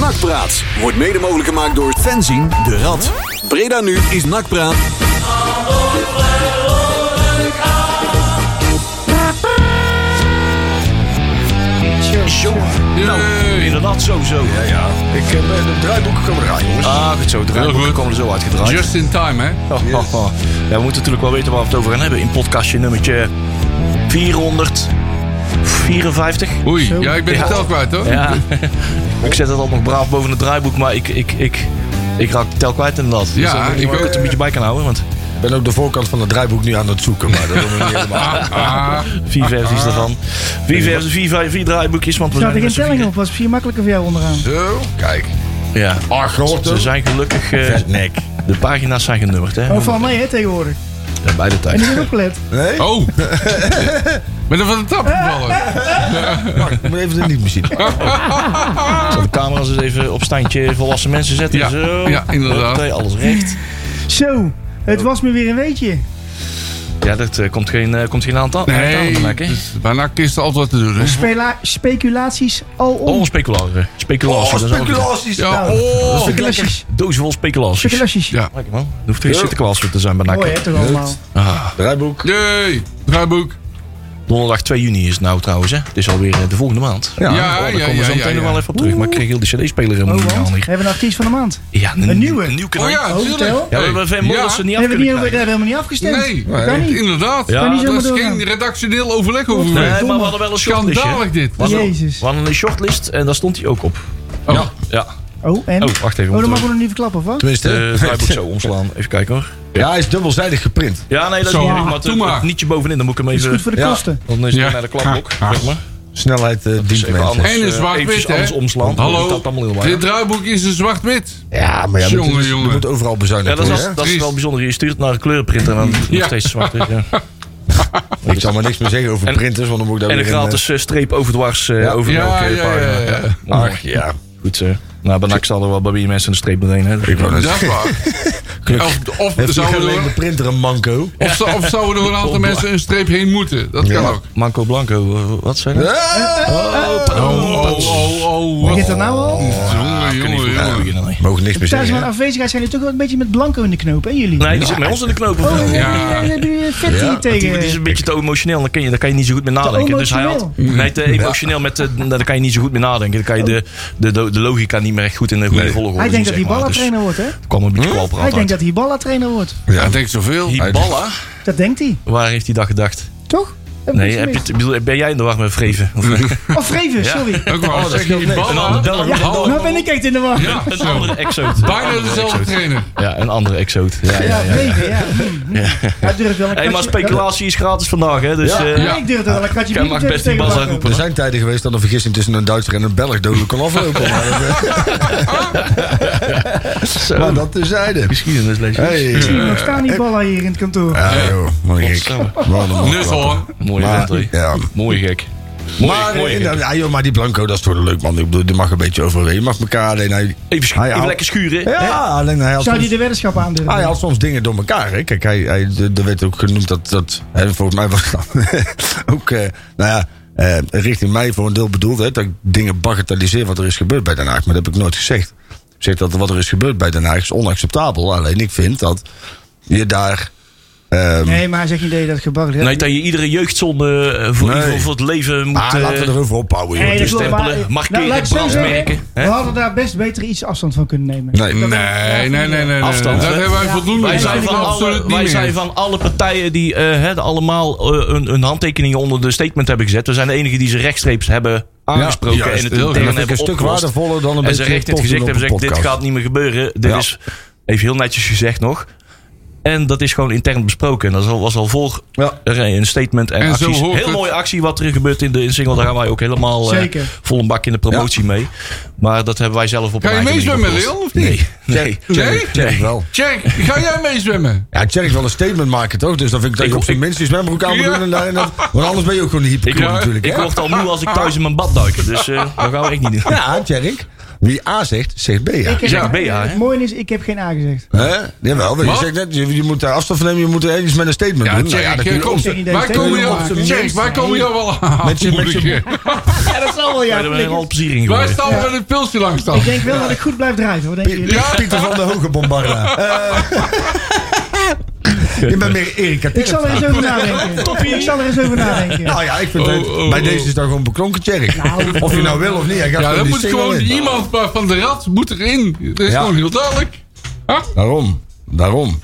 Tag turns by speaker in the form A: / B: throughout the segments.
A: Nakpraat wordt mede mogelijk gemaakt door Fenzin de Rad. Breda nu is Nakpraat.
B: Zo.
C: Nou, inderdaad, zo, zo.
B: Ja, ja. Ik heb eh, de draaiboeken komen draaien, jongens.
C: Ah, goed zo. De draaiboeken
D: goed.
C: komen er zo uitgedraaid.
D: Just in time, hè?
C: Oh, oh, oh. Ja, we moeten natuurlijk wel weten waar we het over gaan hebben. In podcastje nummertje 454.
D: Oei, ja, ik ben
C: Ja.
D: het tel kwijt, hoor.
C: Ja. ik zet het al nog braaf boven het draaiboek, maar ik, ik, ik, ik raak het tel kwijt inderdaad. Dus
D: Ja,
C: dan moet
D: ik
C: ik
D: ook.
C: het een beetje bij kan houden, want
B: Ik ben ook de voorkant van het draaiboek nu aan het zoeken, maar dat doen we niet helemaal.
D: Ah,
C: vier versies daarvan. Vier, versies, vier, vier, vier draaiboekjes, want we
E: Staat er
C: zijn dus
E: geen
C: met z'n
E: telling op? Was het vier makkelijker voor jou onderaan?
B: Zo, kijk.
C: vier- Ja.
B: Ach, grote.
C: Ze zijn gelukkig, eh,
B: nek.
C: de pagina's zijn genummerd, hè?
E: Oh, van mij hè, tegenwoordig.
C: Ja, bij de
E: En
C: tijd.
E: ik heb opgelet.
B: Nee?
D: oh. Ben er van de tap gevallen?
B: Ik moet even de niet meer zien.
C: Oh, Zal de camera's eens even op standje volwassen mensen zetten?
D: Ja,
C: Zo.
D: ja, inderdaad.
C: Hoppatee, alles recht.
E: Zo, het was me weer een weetje.
C: Ja, dat eh, komt geen, eh, komt geen aantal.
D: Nee,
C: aantal
D: het is bijna kisten altijd te doen, hè?
E: Spela- speculaties al om.
C: Oh, speculatie. Speculatie.
B: Oh,
C: dat is ook een
B: speculaties.
D: Ja,
E: Nou,
D: oh.
E: speculaties.
C: doos vol speculaties.
E: Speculaties.
D: Ja.
C: Lekker man. Er hoeft geen
B: Ja.
C: Sinterklaas voor te zijn bij
E: Mooi
C: NAC.
E: Oh, hè, toch allemaal.
B: Draaiboek.
D: Jee, draaiboek.
C: Donderdag 2 juni is het nou trouwens. Hè. Het is alweer eh, de volgende maand.
D: Ja,
C: Oh,
D: ja,
C: daar
D: ja,
C: komen we
D: ja.
C: zo meteen
D: ja.
C: nog wel even op terug. Maar ik kreeg heel de cd-speler helemaal
E: Oh,
C: niet
E: want
C: aan.
E: we hebben een artiest van de maand.
C: Ja,
E: Een nieuwe.
C: Een nieuw kanaal.
D: Oh ja,
E: Oh,
D: natuurlijk.
E: vertel.
C: Ja, we hebben Van Morrison niet
E: We
C: af
E: hebben
C: kunnen
E: niet over,
C: krijgen.
E: daar hebben we niet afgestemd.
D: Nee,
E: Dat kan niet.
D: inderdaad.
C: Ja. Kan niet
D: dat
E: zomaar
D: is
E: doorgaan.
D: geen redactioneel overleg over
E: Nee.
D: geweest.
C: Nee, maar we hadden wel een shortlist. hè.
D: Schandalig dit.
C: We hadden-
E: eh, Jezus.
C: We hadden een shortlist en daar stond hij ook op.
D: Oh.
C: Ja. ja.
E: Oh, en?
C: Oh, wacht even. we
E: Oh, dat
C: moeten
E: mogen we nog niet verklappen, of wat?
B: Tenminste.
C: Eh, draaiboek zo omslaan. Even kijken hoor.
B: ja, hij is dubbelzijdig geprint.
C: Ja, nee, dat is
D: Zo,
C: niet erg,
D: doe
C: maar. het-
D: maar.
C: het Nietje bovenin, dan moet ik hem
E: Dat is
C: even...
E: goed voor de
B: Ja.
E: kosten.
C: Dan is hij
D: Ja.
C: naar de klapblok,
D: Ha,
C: zeg maar.
B: Snelheid eh, dient
C: Even
B: mensen.
C: anders,
D: En een
C: eh,
D: zwart-wit,
C: eventjes
D: hè?
C: anders omslaan. Dat
D: Hallo,
C: staat allemaal in de
D: dit
C: war.
D: draaiboek is een zwart-wit.
B: Ja, maar ja, dat
D: Jongen,
B: is-
D: jongen.
B: je moet overal
C: Ja,
B: bezuinigd
C: dat is,
B: worden.
C: als-
B: hè?
C: dat is
D: Dries.
C: wel bijzonder. Je stuurt het naar een kleurenprinter en dan nog
D: Ja.
C: steeds zwart. is, Ja.
B: Ik zal maar niks meer zeggen over
C: En-
B: printers, want dan moet ik daar
C: En een
B: weer in, eh,
C: gratis eh, streep overdwars eh
B: Ja.
C: over
D: Ja,
C: elke
D: ja,
C: pagina.
D: ja, ja.
C: Mooi.
B: Ach eh, ja,
C: Goed zo. Nou, bij NAC zal er wel bij wie mensen een streep doorheen. Hè.
B: ik wou net
D: Dat
B: zeggen.
D: is waar. Of, of,
B: Heeft
D: zouden
B: iedereen
D: we
B: de
D: er-
B: printer een manco?
D: of, zo- of zouden er een aantal mensen een streep heen moeten. Dat kan
B: Ja.
D: ook.
C: Manco Blanco, eh, wat zijn dat?
B: Eh?
D: Oh, oh, oh, oh.
E: Begint dat nou al?
D: Jongen,
C: Kan niet
D: jongen,
C: voor mij
D: jongen.
C: beginnen, nee.
B: Mogen niks meer
E: Tijdens
B: zeggen.
E: mijn
B: hè?
E: afwezigheid zijn jullie toch wel een beetje met blanco in de knoop, hè jullie?
C: Nee, die zit met ons in de knopen.
E: Oh,
C: Ja.
D: Ja.
E: ja. daar heb je vet
B: Ja.
E: hier tegen.
C: Die is een beetje te emotioneel, dan kan je, daar kan je niet zo goed mee nadenken. Dus hij had, nee, te emotioneel, met, eh, daar kan je niet zo goed mee nadenken. Dan kan je de, de, de, de logica niet meer echt goed in de goede volgorde
E: Hij
C: zien,
E: denkt dat
C: zeg
E: hij
C: maar. Dus
E: ballentrainer wordt, hè?
C: er kwam een beetje
B: Hm?
C: kwalpraat
E: Hij denkt
C: uit.
E: dat hij ballentrainer wordt.
D: Ja, ik denk zoveel.
C: Hiballa?
E: Dat denkt hij,
C: Waar heeft hij dat gedacht?
E: toch? Heb ik
C: Nee,
E: niks
C: heb je,
E: gemist?
C: het- bedoel, ben jij in de war met Vreven? Of-
E: Of Vreven,
C: Ja.
E: sorry.
D: Ook
C: Oh,
D: wel. Zeg je
C: Een
D: Hiballa?
C: andere Belg.
E: Ja,
D: Hallo.
E: nou ben ik echt in de war.
D: Ja,
C: Een
D: zo.
C: andere exoot.
D: Bijna dezelfde trainer.
C: Ja, een andere exoot. Ja, ja,
E: Ja,
C: ja.
E: Vreven, ja. Hm. Hij durft wel een
C: Hey, maar
E: kratje-
C: speculatie is gratis vandaag, hè? Dus,
B: Ja.
C: eh,
E: Ja, ik durf er wel een kratje
C: Jij
E: bier
C: mag
E: tegen
C: best die
E: te
C: bas
E: lachen.
C: aanroepen.
B: Er zijn tijden geweest dat een vergissing tussen een Duitser en een Belg dodelijk kan aflopen. Maar, dat-
C: zo.
B: maar dat tezijde.
C: Geschiedenis lees je.
B: Hey.
E: Ik zie hem nog staan, die ballen hier in het kantoor.
B: Ja, joh. Mooi gek. Wat een
D: Nus hoor.
C: Mooi
B: Maar-
C: vent, hoor.
B: ja.
C: Mooi gek. Mooi,
B: Maar,
C: mooi
B: eh,
C: gek.
B: nou, ja, joh, maar die Blanco, dat is toch een leuk man. Ik bedoel, die mag een beetje overwegen. Je mag elkaar alleen. Hij,
C: Even, schu-
B: hij
C: even
B: haalt-
C: lekker schuren.
B: Ja, alleen hij had,
E: Zou die
B: soms,
E: de weddenschap aandurven?
B: hij haalt soms dingen door elkaar. Hè. Kijk, hij, hij, d- er werd ook genoemd dat. dat hè, volgens mij was dat ook. eh, nou ja, eh, richting mij voor een deel bedoeld. Hè, dat ik dingen bagatelliseer wat er is gebeurd bij Den Haag. Maar dat heb ik nooit gezegd. Ik zeg dat wat er is gebeurd bij Den Haag is onacceptabel. Alleen ik vind dat je daar. ehm,
E: Nee, maar hij zegt niet dat je dat gebarreld hebt.
C: Nee, Nou, dat je iedere jeugdzonde eh, voor,
B: Nee.
C: ieder geval voor het leven moet...
B: ah, laten
C: eh,
B: we erover ophouden. joh.
E: Nee,
B: Het
E: dat
B: is-
E: klopt,
C: stempelen,
E: maar-
C: markeren,
E: laat ik zo zeggen,
C: brandmerken, hè?
E: We hadden daar best beter iets afstand van kunnen nemen.
B: Nee.
D: Nee, nee, nee, nee. nee.
C: Afstand,
D: Dat
C: hè?
D: hebben wij voldoende.
C: Wij zijn,
D: Dat
C: van
D: is
C: alle,
D: absoluut niet
C: wij
D: meer.
C: zijn van alle partijen die eh, hè, de allemaal eh, een, een handtekeningen onder de statement hebben gezet. We zijn de enigen die ze rechtstreeps hebben aangesproken
D: juist,
C: en het
D: heel goed.
C: intern hebben
B: Dat vind eh, ik een stuk
C: opgelost.
B: waardevoller dan een
C: En
B: beetje
C: ze recht in het
B: tof
C: gezicht
B: doen op
C: hebben
B: een
C: gezegd, dit
B: podcast.
C: gaat niet meer gebeuren. Dit
B: Ja.
C: is, even heel netjes gezegd nog. En dat is gewoon intern besproken. En dat is al- was al voor
B: Ja.
C: er een statement en,
D: En zo
C: acties.
D: hoort
C: Heel
D: het.
C: mooie actie wat er gebeurt in de in Single. Daar gaan wij ook helemaal eh,
E: Zeker.
C: vol een bak in de promotie mee. Maar dat hebben wij zelf op
D: Ga
C: een
D: je
C: eigen manier
D: meezwemmen,
C: opgelost.
D: Leon, of niet?
C: Nee.
D: Nee?
B: Check wel.
D: Check, ga jij meezwemmen?
B: Ja, Tjerk wil een statement maken, toch? Dus dan vind ik dat je
C: Ik-
B: op zijn
C: ik-
B: minst je zwembroek aan moet
D: Ja.
B: doen. En daar- en dat- want anders ben je ook gewoon een hypocriet
C: Ik,
B: natuurlijk.
C: ik
B: hè?
C: word al moe als ik thuis in mijn bad duik. Dus eh dat gaan we echt niet doen.
B: Ja, Tjerk. Wie A zegt, zegt B. Ja.
E: Ik heb-
C: Zeg B, ja, hè?
E: Het mooie is, ik heb geen A gezegd.
B: Hè? Jawel, maar je
D: Wat?
B: zegt net, je, je moet daar afstand van nemen, je moet er iets met een statement
D: Ja,
B: doen. Nou
D: Tjerk,
B: ja, dat kun
D: eh,
B: je
D: kom,
B: ook
E: zeggen.
D: waar
E: Nee,
D: komen
E: nee,
D: jou-
E: nee,
D: Tjerk,
E: nee,
D: waar
E: nee.
D: komen jou wel aan?
B: Met je- met je-
D: moeilijke?
E: Ja, dat zal wel,
C: Daar hebben we al
E: ja.
C: plezier in
D: Waar
C: gegooid.
D: staan we met een pilsje langs dan?
E: Ik denk wel dat ik goed blijf drijven. Wat denken jullie?
B: Ja, Pieter van de Hoge Bombarda. Eh, je bent meer Erika
E: Ik zal er eens over nadenken. Ik zal er eens over nadenken.
B: Nou ja, ik vind
D: Oh,
B: het,
D: oh,
B: bij
D: oh.
B: deze is dan gewoon beklonken Tjerk. of je nou wil of niet. Hij gaat
D: Ja,
B: gewoon
D: dat
B: die
D: moet
B: single
D: gewoon
B: in.
D: iemand van- van de rat moet erin. Dat is
B: Ja.
D: gewoon heel duidelijk. Huh?
B: Daarom, daarom.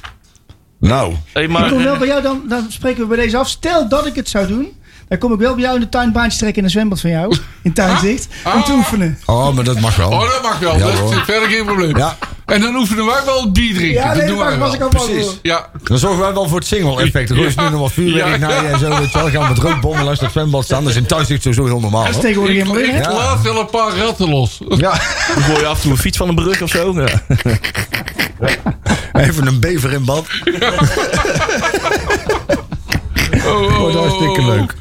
B: Nou,
C: Hey,
E: Ik
C: maar,
E: kom wel
C: eh,
E: bij jou, dan, dan spreken we bij deze af. Stel dat ik het zou doen, dan kom ik wel bij jou in de tuinbaantje trekken in een zwembad van jou. In tuinzicht. Om te oefenen.
B: oh, maar dat mag wel.
D: Oh, dat mag wel.
B: Ja,
D: dat is
B: hoor.
D: verder geen probleem.
B: Ja.
D: En dan oefenen wij wel bier drinken.
E: Ja,
D: dat
E: nee,
D: doen wij
E: daar was ik
D: wel.
E: al bang
B: Precies.
E: voor.
D: Ja,
B: Dan zorgen wij wel voor het single-effect. Er is nu nog wat vuurwerk
D: Ja.
B: naar je en zo. Weet je wel. Gaan met rookbommen langs dat zwembad staan. Dat is in thuiszicht sowieso heel normaal.
E: Dat is
B: hoor.
E: tegenwoordig
D: ik,
E: helemaal in.
D: ik
E: hè?
B: Ja.
D: laat wel een paar ratten los.
B: Ja,
C: dan gooi je af en toe een fiets van een brug of zo. Ja.
B: even een bever in bad.
D: Oh, oh,
B: Oh, dat is dikke leuk.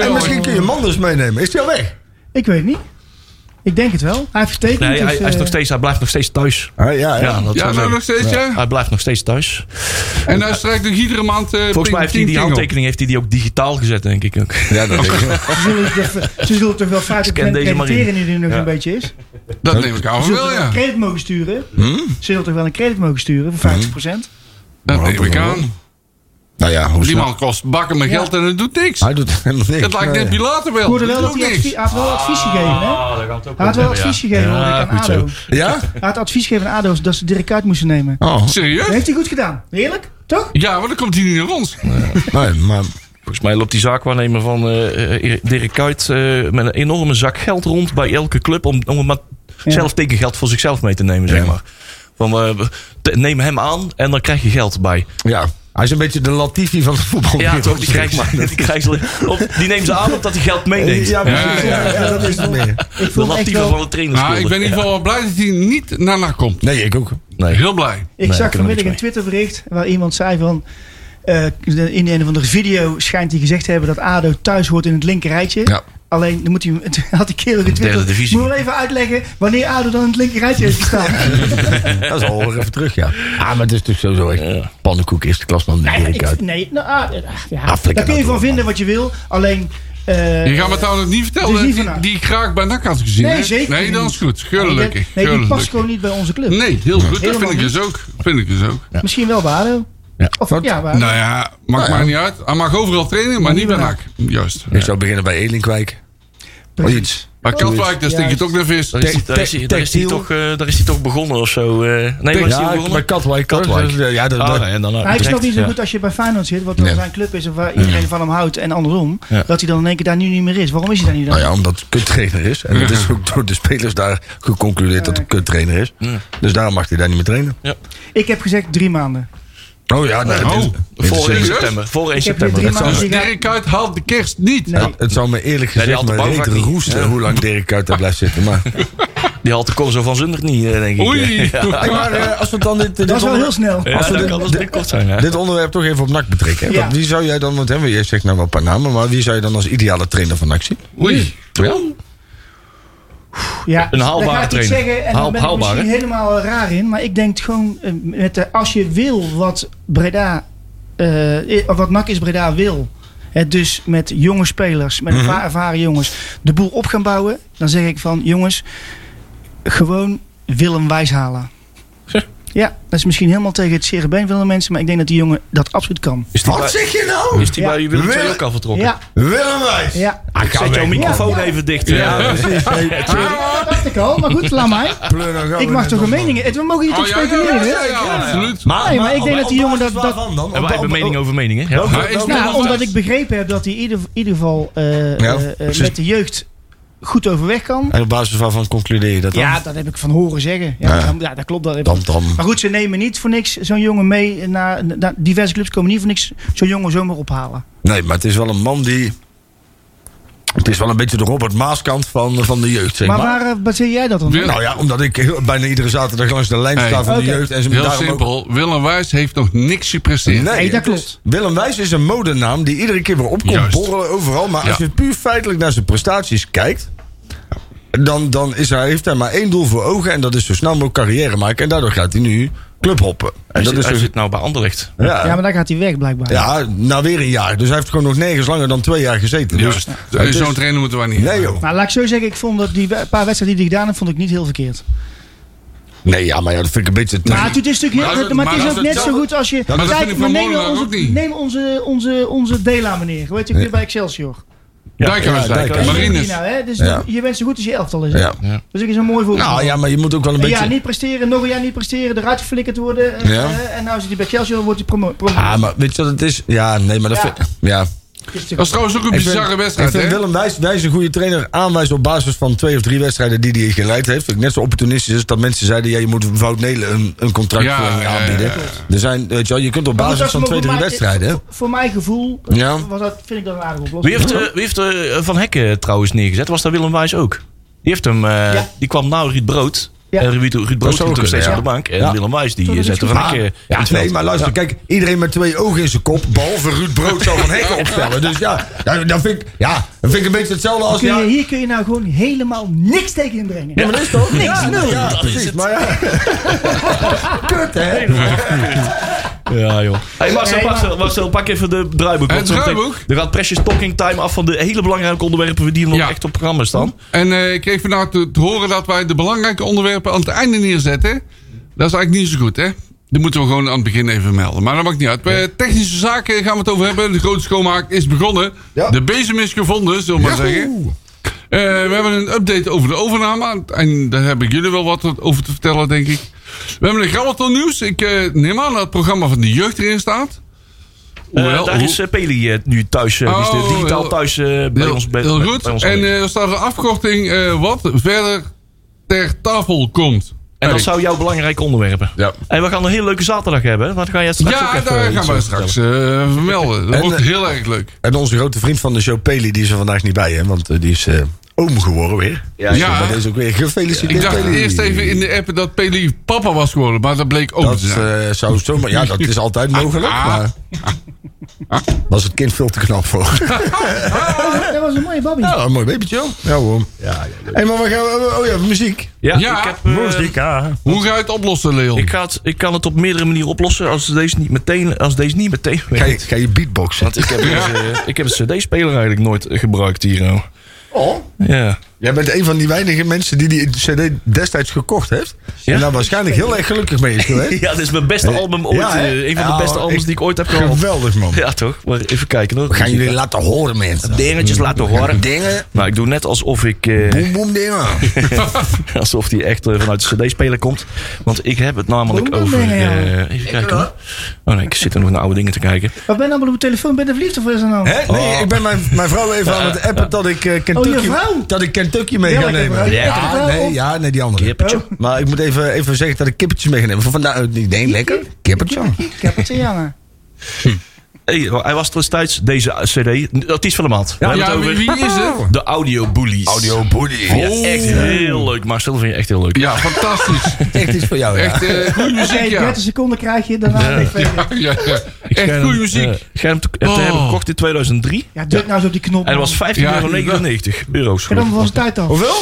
B: En misschien kun je Manders meenemen. Is die al weg?
E: Ik weet niet. Ik denk het wel. Hij heeft getekend.
C: Nee,
E: dus,
C: hij, hij, is
E: eh,
C: nog steeds, hij blijft nog steeds thuis.
B: Ah, ja,
C: Ja, dat
D: Ja,
C: zou
D: nou
C: zijn.
D: nog steeds, ja.
C: Hij blijft nog steeds thuis.
D: En hij strijkt nog iedere maand eh
C: Volgens mij heeft hij die handtekening heeft hij die ook digitaal gezet, denk ik ook.
B: Ja, dat denk ik.
E: Ze zullen, toch- ze zullen toch wel 50%
C: Scan deze maar in.
E: crediteren die er nog een beetje is. Ze
D: Dat neem ik aan van
E: zullen
D: wel,
E: toch wel
D: ja.
E: een credit mogen sturen. Ze zullen toch wel een credit mogen sturen voor 50%.
D: Dat neem ik aan.
B: Nou ja, hoe
D: Die
B: snel-
D: man kost bakken met geld en het doet niks.
B: Hij eh, doet helemaal niks.
D: Het lijkt
B: Nee.
D: net Pilater
E: Ik
D: wel.
E: hoorde wel
D: Dat
E: dat
D: doet
E: hij
D: niks.
E: advie- hij had wel advies gegeven. Hè? Hij
C: dat kan ook
E: had wel advies gegeven hoorde ik, aan ADO.
B: Ja?
E: Hij had advies gegeven aan ADO dat ze Dirk uit moesten nemen.
B: Oh,
E: Dat
D: Serieus?
E: heeft hij goed gedaan. Heerlijk, toch?
D: Ja, maar dan komt hij niet naar ons.
B: Oh, nee, maar...
C: Volgens mij loopt die zaakwaarnemer van eh, eh, Dirk Kuyt eh, met een enorme zak geld rond bij elke club. Om, om maar
E: Ja.
C: zelf tekengeld voor zichzelf mee te nemen, zeg maar. Van, eh, te- neem hem aan en dan krijg je geld bij.
B: Ja, hij is een beetje de Latifi van het voetbal.
C: Ja, toch? Die, krijgt maar, die, krijgt, ze- of, die neemt ze aan omdat hij geld meeneemt.
B: Ja, precies. Ja, ja, dat is het meer.
E: Ik
C: de
E: vond het echt
C: latieve van
E: wel...
C: de trainers.
D: Nou, ik ben in ieder geval wel blij dat hij niet naar NAC komt.
B: Nee, ik ook.
C: Nee.
D: Heel blij.
E: Ik
C: Nee, daar kunnen we
E: zag
C: niks
E: vanmiddag
C: mee.
E: een Twitterbericht waar iemand zei van... eh, in de een of andere video schijnt hij gezegd te hebben dat ADO thuis hoort in het linkerrijtje.
B: Ja.
E: Alleen, dan moet hij, toen had die kerel getwitterd.
C: Derde divisie.
E: Moet wel even uitleggen wanneer ADO dan in het linkerrijtje heeft gestaan.
B: Dat is al even terug, ja. Ah, maar het is natuurlijk sowieso echt pannenkoek eerste klas dan Amerika.
E: Ik- nee, nou, ah, ja,
B: Afrika
E: daar kun je van
B: natuurlijk,
E: vinden wat je wil. Alleen, eh,
D: Je gaat me trouwens niet vertellen
E: Dus niet
D: dat die,
E: vandaag.
D: die ik graag bij NAC had gezien. hè?
E: nee, zeker
D: Nee, dan
E: niet.
D: is goed.
E: Nee, die-
D: Gelukkig.
E: Nee, die past
D: Gelukkig.
E: gewoon niet bij onze club.
D: Nee, heel goed. Dat vind
E: Helemaal
D: ik dus
E: niet.
D: ook. Vind ik dus ook.
E: Misschien wel bij ADO.
B: Ja.
E: Of,
B: Wat?
E: ja, bij ADO.
D: Nou ja, maakt mij niet uit. Hij mag overal trainen, maar niet bij NAC. Juist.
B: Ik zou beginnen bij Elinkwijk. Of
E: Precies.
B: Oh, iets.
D: Maar Katwijk, daar stink je
E: Juist.
D: toch naar vis.
C: Daar is die- daar is die- daar is die
B: Textiel.
C: toch, eh, daar is die toch begonnen of zo. eh. nee, waar is die
B: Ja, bij
C: begonnen?
B: Katwijk.
C: Katwijk.
B: Ja, dat,
C: Ah,
B: dat-
C: nee, en dan, eh,
E: Maar ik snap
C: direct,
E: niet zo
C: ja.
E: goed als je bij Feyenoord zit, wat dan
B: Nee.
E: zijn club is en waar iedereen van hem houdt en andersom,
C: Ja. Ah,
E: dat hij dan in één keer daar nu niet meer is. Waarom is hij daar niet dan?
B: Nou ja, omdat het kuttrainer is. En het is ook door de spelers daar geconcludeerd dat het kuttrainer is. Dus daarom mag hij daar niet meer trainen.
E: Ik heb gezegd drie maanden.
B: Oh ja, nee,
D: Oh,
B: dit- dit is-
C: Voor 1
D: Serieus?
C: september. Voor 1
E: Ik heb dit
C: september.
E: drie
B: zou-
E: maanden.
D: Dus Dirk
E: gezegd-
D: Kuyt haalt de kerst niet.
E: Nee.
B: Het, het zou me eerlijk
C: Nee, die
B: gezegd
C: had de
B: me reet
C: bouwvak niet.
B: roesten
C: Ja.
B: hoe lang Dirk Kuyt daar blijft zitten. Maar,
C: Die haalt de Corso van Zundert niet, eh, denk ik.
D: Oei.
B: Hey, maar, eh, als we dan dit, dit
E: Dat is wel
B: onderwerp-
E: heel snel.
C: Ja,
B: Als we
C: dat
B: dit-
C: kan wel eens kort zijn. hè.
B: dit onderwerp toch even op NAC betrekken. hè?
E: Ja.
B: Want Wie zou jij dan, want hè, jij zegt nou wel een paar namen, maar wie zou je dan als ideale trainer van NAC zien?
D: Oei.
E: Ja,
C: Een haalbare
E: dan ga ik iets
C: trainer.
E: zeggen en
C: Haal-
E: dan ben ik
C: haalbaar,
E: misschien helemaal raar in, maar ik denk gewoon eh, met de, als je wil wat Breda, eh, eh, of wat NAC is Breda wil, hè, dus met jonge spelers, met een
D: Mhm.
E: paar ervaren jongens, de boel op gaan bouwen, dan zeg ik van jongens, gewoon Willem Wijs halen. Ja, dat is misschien helemaal tegen het zere been van de mensen, maar ik denk dat die jongen dat absoluut kan.
C: Is die bij-
B: zeg je nou?
C: Is die
E: Ja.
C: bij Willem II
B: Willem-
C: ook al vertrokken? Ah,
E: Ja,
B: Willem Wijs.
E: ja.
D: Ah,
C: Zet jouw microfoon
E: Ja, ja.
C: even dicht. eh,
D: Ja.
C: Ja.
B: precies. Hey,
E: Ja, dat dacht ik al, maar goed, laat mij.
B: pleur dan gauw
E: Ik
B: in
E: mag
B: het
E: toch een
B: antwoord.
E: mening. We mogen hier
D: Oh,
E: toch
D: ja, ja,
E: speculeren,
D: ja, ja,
E: hè?
D: ja, absoluut.
E: Nee, Ah, maar ik denk dat die jongen dat- dat-
C: En wij hebben mening over meningen. Ja.
D: Maar is
E: Nou,
D: dat-
E: omdat ik begrepen heb dat hij in ieder, ieder geval eh,
B: Ja,
E: eh, eh,
B: precies.
E: met de jeugd goed overweg kan.
B: En op basis waarvan concludeer je dat dan?
E: Ja, dat heb ik van horen zeggen. Ja,
B: Ja.
E: dan- ja, dat klopt. Dat heb ik-
B: dan, dan.
E: Maar goed, ze nemen niet voor niks zo'n jongen mee. Naar, naar- diverse clubs komen niet voor niks zo'n jongen zomaar ophalen.
B: Nee, maar het is wel een man die... Het is wel een beetje de Robert Maaskant van, van de jeugd, zeg
E: Maar
B: maar.
E: waar eh, baseer jij dat dan? op?
D: Wil-
B: Nou ja, omdat ik heel- bijna iedere zaterdag langs de lijn
D: Hey.
B: sta van de
E: Oké.
B: jeugd. En ze me
D: Heel
B: daarom ook-
D: simpel. Willem Wijs heeft nog niks gepresteerd.
E: Nee, dat
B: het is-
E: klopt.
B: Willem Wijs is een modenaam die iedere keer weer opkomt
D: Juist.
B: borrelen overal. Maar als
D: Ja.
B: je puur feitelijk naar zijn prestaties kijkt... dan, dan is hij, heeft hij maar één doel voor ogen. En dat is zo snel mogelijk carrière maken. En daardoor gaat hij nu clubhoppen. En
C: Hij,
B: dat
C: zit,
B: is
C: hij
B: dus-
C: zit nou bij Anderlecht.
E: Ja,
B: ja,
E: maar daar gaat hij weg blijkbaar.
B: ja, na weer een jaar. Dus hij heeft gewoon nog nergens langer dan twee jaar gezeten. Dus,
D: Dus,
B: het is-
D: Zo'n trainer moeten wij niet.
B: Nee joh.
E: Maar laat ik zo zeggen, ik vond dat die we- paar wedstrijden die hij gedaan heeft, vond ik niet heel verkeerd.
B: Nee, ja, maar ja, dat vind ik een beetje... te-
E: Maar het is natuurlijk
D: Maar
E: heel,
D: dat-
E: maar het
D: maar
E: is
D: dat-
E: ook net
D: dat-
E: zo goed als je.
D: dat vind ik
E: Kijk,
D: van
E: maar neem
D: Molenaar
E: onze,
D: ook niet.
E: neem onze, onze, onze Dela meneer. Weet je, ook weer bij Excelsior.
C: Ja,
D: Dijkhuis,
B: ja,
D: Dijkhuis.
B: Dijkhuis.
E: Die
D: Marines.
E: Nou, hè? Dus
B: Ja.
E: je bent zo goed als je elftal is. hè?
B: Ja.
E: Dus ik is een mooi voorbeeld.
B: Nou ja, maar je moet ook wel een
E: Een
B: beetje...
E: jaar niet presteren, nog een jaar niet presteren, eruit geflikkerd worden. eh,
B: Ja.
E: eh, en nou zit hij bij Excelsior, wordt hij promo. promo
B: Ah, maar weet je wat het is? Ja, nee, maar dat
E: Ja.
B: vind ja.
D: Dat is trouwens ook een
B: Ik vind-
D: bizarre wedstrijd,
B: Ik
D: hè?
B: vind Willem Wijs, Wijs een goede trainer aanwijzen op basis van twee of drie wedstrijden die hij geleid heeft. Vind ik net zo opportunistisch is dat mensen zeiden, ja, je moet Wout Nelen een, een contractverlenging
D: Ja, ja, ja,
B: aanbieden.
D: ja.
B: Er zijn, weet je, wel, je kunt op
E: Maar goed, dat
B: basis van
E: is
B: twee,
E: voor
B: drie
E: mij-
B: wedstrijden.
E: Voor, voor mijn gevoel eh,
B: Ja.
E: was dat, vind ik dat een aardige
C: Wie
E: oplossing.
C: heeft, eh, wie heeft eh, Van Hekken trouwens neergezet? Was dat Willem Wijs ook? Die, heeft hem, eh,
E: Ja.
C: die kwam na Ruud Brood.
E: Ja.
C: En Ruud, Ruud Brood
B: zou
C: stond
B: kunnen,
C: nog steeds
B: ja.
C: op de bank. En
B: Ja.
C: Willem Wijs die
E: Toen
C: eh,
E: is
C: zette
E: het
C: Van
E: goed.
C: Hekken in
B: Ja,
C: het
B: nee,
C: veld.
B: maar luister, kijk, iedereen met twee ogen in zijn kop, behalve Ruud Brood, zou Van Hekken opstellen. Dus ja, ja, dat vind ik, ja, dat vind ik een beetje hetzelfde als...
E: Kun
B: Ja,
E: je, hier kun je nou gewoon helemaal niks tegen inbrengen.
B: ja, maar dat is toch?
E: Niks,
B: ja,
E: nul.
B: Ja,
C: Dat is
B: precies,
C: het.
B: maar ja. Kut, hè?
C: Ja, joh. Hey, Marcel,
E: Nee, maar-
C: Marcel, Marcel, pak even de draaiboek.
D: Het
C: want zo meteen-
D: draaiboek?
C: Er gaat precious talking time af van de hele belangrijke onderwerpen die nog
D: Ja.
C: echt op programma staan.
D: En eh, ik kreeg vandaag te, te horen dat wij de belangrijke onderwerpen aan het einde neerzetten. Dat is eigenlijk niet zo goed, hè? Die moeten we gewoon aan het begin even melden. Maar dat maakt niet uit. Bij technische zaken gaan we het over hebben. De grote schoonmaak is begonnen.
B: Ja.
D: De bezem is gevonden, zullen we maar zeggen. Eh, we hebben een update over de overname. En daar heb ik jullie wel wat over te vertellen, denk ik. We hebben een grabbelton nieuws. Ik eh, neem aan dat het programma van de jeugd erin staat.
C: Eh,
D: Hoewel,
C: daar
D: hoe-
C: is eh, Peli eh, nu thuis. eh, die is
D: Oh,
C: eh, digitaal
D: heel-
C: thuis eh, bij
D: Heel,
C: ons. Bij,
D: heel
C: bij-
D: goed.
C: bij ons
D: en
C: aanwezig.
D: eh, er staat een afkorting eh, wat verder ter tafel komt.
C: en dat
D: Erik.
C: zou jouw belangrijke onderwerpen.
B: Ja.
C: En we gaan een hele leuke zaterdag hebben. Wat ga jij straks ook
D: Ja,
C: even
D: daar
C: iets
D: gaan we
C: over
D: straks
C: vertellen.
D: eh, vermelden. Dat
B: En,
D: wordt
B: eh,
D: heel erg leuk.
B: En onze grote vriend van de show, Peli, die is er vandaag niet bij, hè? Want eh, die is eh, oom geworden weer. Dus, Ja,
D: ja.
B: Dat is ook weer gefeliciteerd,
D: Ik dacht
B: Peli.
D: eerst even in de app dat Peli papa was geworden, maar dat bleek ook
B: Dat
D: te zijn.
B: eh, zou zomaar... Ja, dat is altijd mogelijk,
D: Ah.
B: maar... Was het kind veel te knap voor.
E: Dat was een mooie babbie.
B: Ja, een mooi babytje, hoor. Ja, hoor. Ja, hey, maar we gaan... we- Oh ja, muziek.
C: Ja,
D: Ja.
C: ik heb... eh,
D: Hoe ga je het oplossen, Leon?
C: ik, ga het, ik kan het op meerdere manieren oplossen als deze niet meteen, als deze niet meteen
B: Ga je,
C: werkt.
B: ga je beatboxen?
C: Want ik heb,
D: Ja.
C: dus, eh, ik heb een cd-speler eigenlijk nooit eh, gebruikt hier. nou.
B: Oh,
C: Ja.
B: jij bent een van die weinige mensen die die cd destijds gekocht heeft. En daar waarschijnlijk heel erg gelukkig mee is geweest.
C: ja, dit is mijn beste album ooit.
B: Ja, hè?
C: eh, een van
B: Ja,
C: de beste albums
B: ik-
C: die ik ooit heb gehaald.
B: Geweldig, man.
C: Ja, toch? Maar even kijken hoor.
B: We gaan jullie laten horen, mensen.
C: dingetjes laten horen.
B: Dingen.
C: Nou, ik doe net alsof ik... eh,
B: Boem, boem, dingen.
C: alsof die echt eh, vanuit de cd-speler komt. Want ik heb het namelijk
E: Boem,
C: over...
E: boem, ja.
C: eh, even kijken hoor. Oh nee, ik zit er nog naar oude dingen te kijken.
E: Wat ben je allemaal op de telefoon? Ben je verliefd of wat is er nou?
B: Hè? Nee, ik ben mijn, mijn vrouw even aan het appen dat ik, eh,
E: Oh,
B: Kentucky,
E: je vrouw?
B: dat ik Kentucky mee ga
E: Welke vrouw?
B: nemen.
E: Welke
B: Ja,
E: vrouw?
B: nee, ja, nee, die andere. Oh.
C: Kippertje.
B: Maar ik moet even, even zeggen dat ik kippertjes mee ga nemen. Van vandaag, ik denk lekker. Kippertje.
E: Ik heb het, ja.
C: Hey, hij was destijds deze eh, cd, artiest van de maand. We
D: ja,
C: hebben het
D: wie,
C: over
D: wie is het?
C: de Audio Bullies.
B: booty.
C: Ja, echt heel leuk. Marcel vind je echt heel leuk.
D: Ja, fantastisch.
B: Echt iets voor jou, ja.
D: Echt eh, goede muziek,
E: Oké,
D: ja.
E: 30 seconden krijg je, daarna ben je verder.
D: Ja, ja, ja. Echt goede muziek.
C: Jij hem eh, te, te
D: eh, Oh.
C: hebben gekocht in 2003.
E: Ja, druk nou eens op die knop.
C: En dat was 15,99
D: Ja,
C: euro's.
E: En dan was het tijd al.
B: Hoeveel?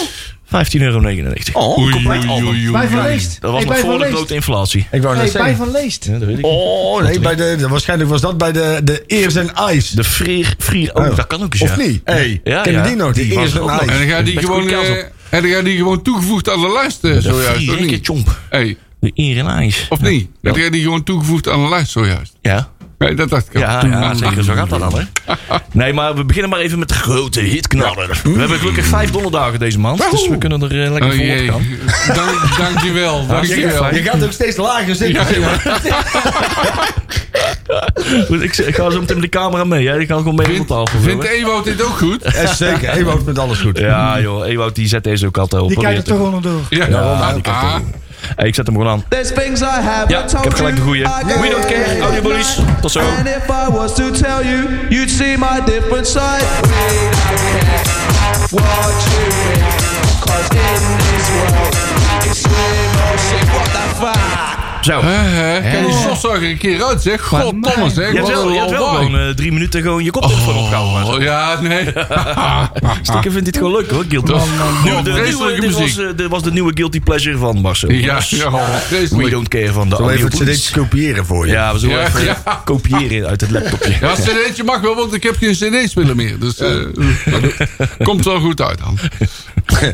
C: 15,99 euro.
B: Oh,
D: Oei,
C: compleet
D: oei,
C: album.
D: oei,
E: Bij
D: oei.
E: Van Leest.
C: Dat was
E: Hey,
C: nog
E: bij
C: voor
E: Van
C: de
E: Leest.
C: grote inflatie.
B: ik wou net
E: Hey, bij
B: zeggen.
E: Van Leest.
C: Ja, dat weet ik.
B: Oh, nee, bij de, de- waarschijnlijk was dat bij de, de Ears and Eyes.
C: De Frier, Frier, oh,
B: Oh.
C: dat kan ook eens,
B: Of
C: ja.
B: niet? Hey,
C: Ja,
B: ken je
C: ja.
B: die nog? Die,
C: Die
B: Ears
C: was er
B: and
C: ook nog.
B: Eyes.
D: En dan ga je die
C: Best
D: gewoon,
C: goede kaas
D: eh,
C: op.
D: en dan ga je die gewoon toegevoegd aan de lijst, eh,
C: De
D: zojuist, of
C: Frier,
D: niet?
C: chomp.
D: Hey,
C: De Eer en IJs.
D: of niet? Dan ga je die gewoon toegevoegd aan de lijst, zojuist.
C: Ja.
D: Nee, dat dacht ik al.
C: Ja, ja, zeker. Zo gaat dat dan, hè? Nee, maar we beginnen maar even met de grote hitknaller. We hebben gelukkig vijf donderdagen deze maand, dus we kunnen er eh, lekker
D: Oh
C: voor op
D: jee.
C: gaan.
D: Dank, dankjewel.
C: Hartstikke
D: Dankjewel.
C: fijn.
B: Je gaat ook steeds lager zitten.
C: Goed, Dus Ik, ik ga zo meteen met de camera mee, hè? Ik ga gewoon mee op
D: Vindt,
C: de tafel.
D: vindt
C: zo, hè.
D: Ewout dit ook goed?
B: Ja, zeker. Hij woont met alles goed.
C: Ja, joh. Ewout die zet deze ook altijd op.
E: Die kijkt er
C: Probeert
E: toch gewoon door.
D: Ja,
C: die kijkt er
D: Ah.
C: hem. Hey, ik zet hem gewoon aan.
F: There's things I have
C: Ja, ik heb gelijk de goeie. We don't care, audio bullies. Tot zo.
F: And if I was to tell you, you'd see my different side. What you think? Cause in this world, it's no secret that fact.
C: Zo.
D: Hè, hè, ah, Kan die stofzuiger een keer uit, zeg. God, Thomas, hè.
C: Je hebt wel, je hebt wel gewoon eh, drie minuten gewoon je koptelefoon opgehouden. maar-
D: Oh, ja, nee.
C: Stikker vindt dit gewoon leuk hoor, Guilty.
D: Dat-
C: Nieuwe- de,
D: Vreselijke
C: nieuwe, dit, was,
D: muziek.
C: eh, dit was de nieuwe Guilty Pleasure van Marcel.
D: ja, ja,
C: We
D: vreselijk.
C: don't care van de
B: Zo even
C: Annie
B: het
C: Poets.
B: cd'tje kopiëren voor je.
C: Ja, we zullen
D: Ja,
C: even
D: ja.
C: eh, kopiëren uit het laptopje.
D: Ja, cd'tje mag wel, want ik heb geen cd-speler meer. Dus eh, maar dat komt wel goed uit dan.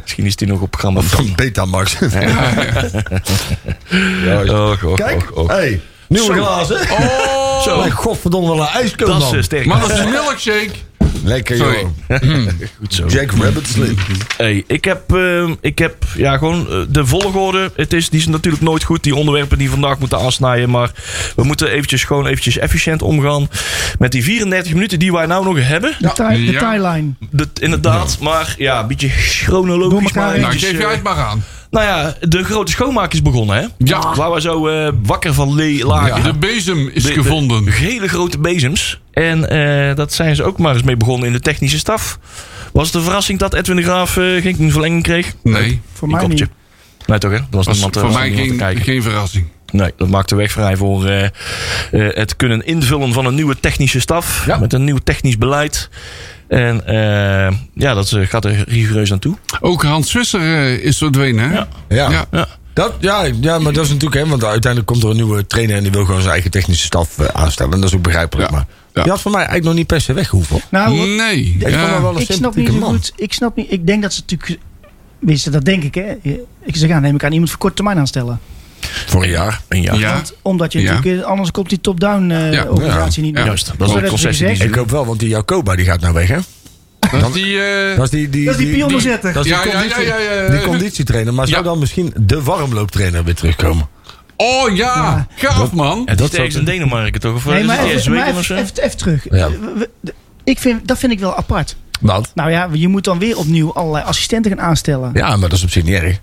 C: Misschien is die nog op programma.
B: Van Betamax.
C: Och, och,
B: Kijk,
C: och, och.
B: hey, nieuwe
C: Zo.
B: glazen.
D: Oh,
C: Zo,
B: oh. Mijn godverdomme, wel een ijskoop
C: dat is eh,
B: man.
C: sterk.
D: maar dat is een milkshake.
B: Lekker
D: Sorry.
B: joh. Mhm.
C: Goed zo.
B: Jack Rabbit Slim.
C: Hey, ik heb, eh, ik heb ja, gewoon eh, de volgorde. Het is, die is natuurlijk nooit goed, die onderwerpen die we vandaag moeten aansnijden. Maar we moeten eventjes, gewoon eventjes efficiënt omgaan met die 34 minuten die wij nou nog hebben.
E: De, tie- de
D: Ja.
E: tie-line.
C: Dat, inderdaad, maar ja, een beetje
E: Door
C: chronologisch.
E: elkaar
C: Maar
E: heen.
D: Nou,
C: eventjes,
D: geef
C: eh,
D: jij het maar aan.
C: nou ja, de grote schoonmaak is begonnen, hè?
D: Ja.
C: Waar we zo eh, wakker van le- lagen.
D: De bezem is
C: De- de-
D: gevonden.
C: hele grote bezems. En eh, dat zijn ze ook maar eens mee begonnen in de technische staf. Was het een verrassing dat Edwin de Graaf eh, geen verlenging kreeg?
D: Nee,
E: Voor
C: Een
E: mij
C: kopje.
E: niet.
C: Nee, toch hè? Er was,
D: was
C: niemand, er
D: voor
C: was
D: mij
C: niemand te
D: geen,
C: kijken.
D: geen verrassing.
C: Nee, dat maakt de weg vrij voor eh, eh, het kunnen invullen van een nieuwe technische staf.
D: Ja.
C: Met een nieuw technisch beleid. En eh, ja, dat eh, gaat er rigoureus aan toe.
D: Ook Hans Visser eh, is verdwenen, hè?
C: Ja.
B: Ja.
D: Ja.
B: Dat, ja, ja, maar dat is natuurlijk, hè, want uiteindelijk komt er een nieuwe trainer en die wil gewoon zijn eigen technische staf eh, aanstellen. En dat is ook begrijpelijk.
D: Ja.
B: Maar
D: Ja.
B: die had voor mij eigenlijk nog niet per se weg hoeven. hoor.
E: Nou, wat-
D: Nee.
B: Ja, ik vond hem wel een
E: ik snap niet
B: sympathieke
E: zo
B: man.
E: goed. Ik snap niet. Ik denk dat ze natuurlijk. Wisten, dat denk ik hè. Ik zeg, ja, neem ik aan iemand voor korte termijn aanstellen.
B: Voor een jaar.
C: Een jaar.
D: Ja.
E: Want, omdat je
D: Ja.
E: natuurlijk, eh, anders komt die top-down eh,
D: Ja.
E: organisatie niet
D: Ja.
E: meer.
C: Juist, dat is
E: Zo
C: de
E: werd het
C: concessie die
E: gezegd.
C: ze
B: Ik hoop wel, want die Jacoba die gaat nou weg, hè?
D: Dat is die... eh,
B: Dat is die, die,
E: Dat is die pionenzetter.
B: dat is die
D: Ja, ja,
B: conditie-
D: ja, ja, ja.
B: Die conditietrainer. Maar zou
D: Ja.
B: dan misschien de warmlooptrainer weer terugkomen?
D: Oh ja, gaaf man.
C: Het
B: Dat
C: is ergens in
B: zou-
C: Denemarken toch? Of eh,
E: Nee,
C: is
E: maar
C: het eerst
E: even, maar
C: weken of zo?
E: even, even- even terug.
B: Ja.
E: We- we- de- Ik vind, dat vind ik wel apart.
B: Wat?
E: Nou ja, je moet dan weer opnieuw allerlei assistenten gaan aanstellen.
B: Ja, maar dat is op zich niet erg.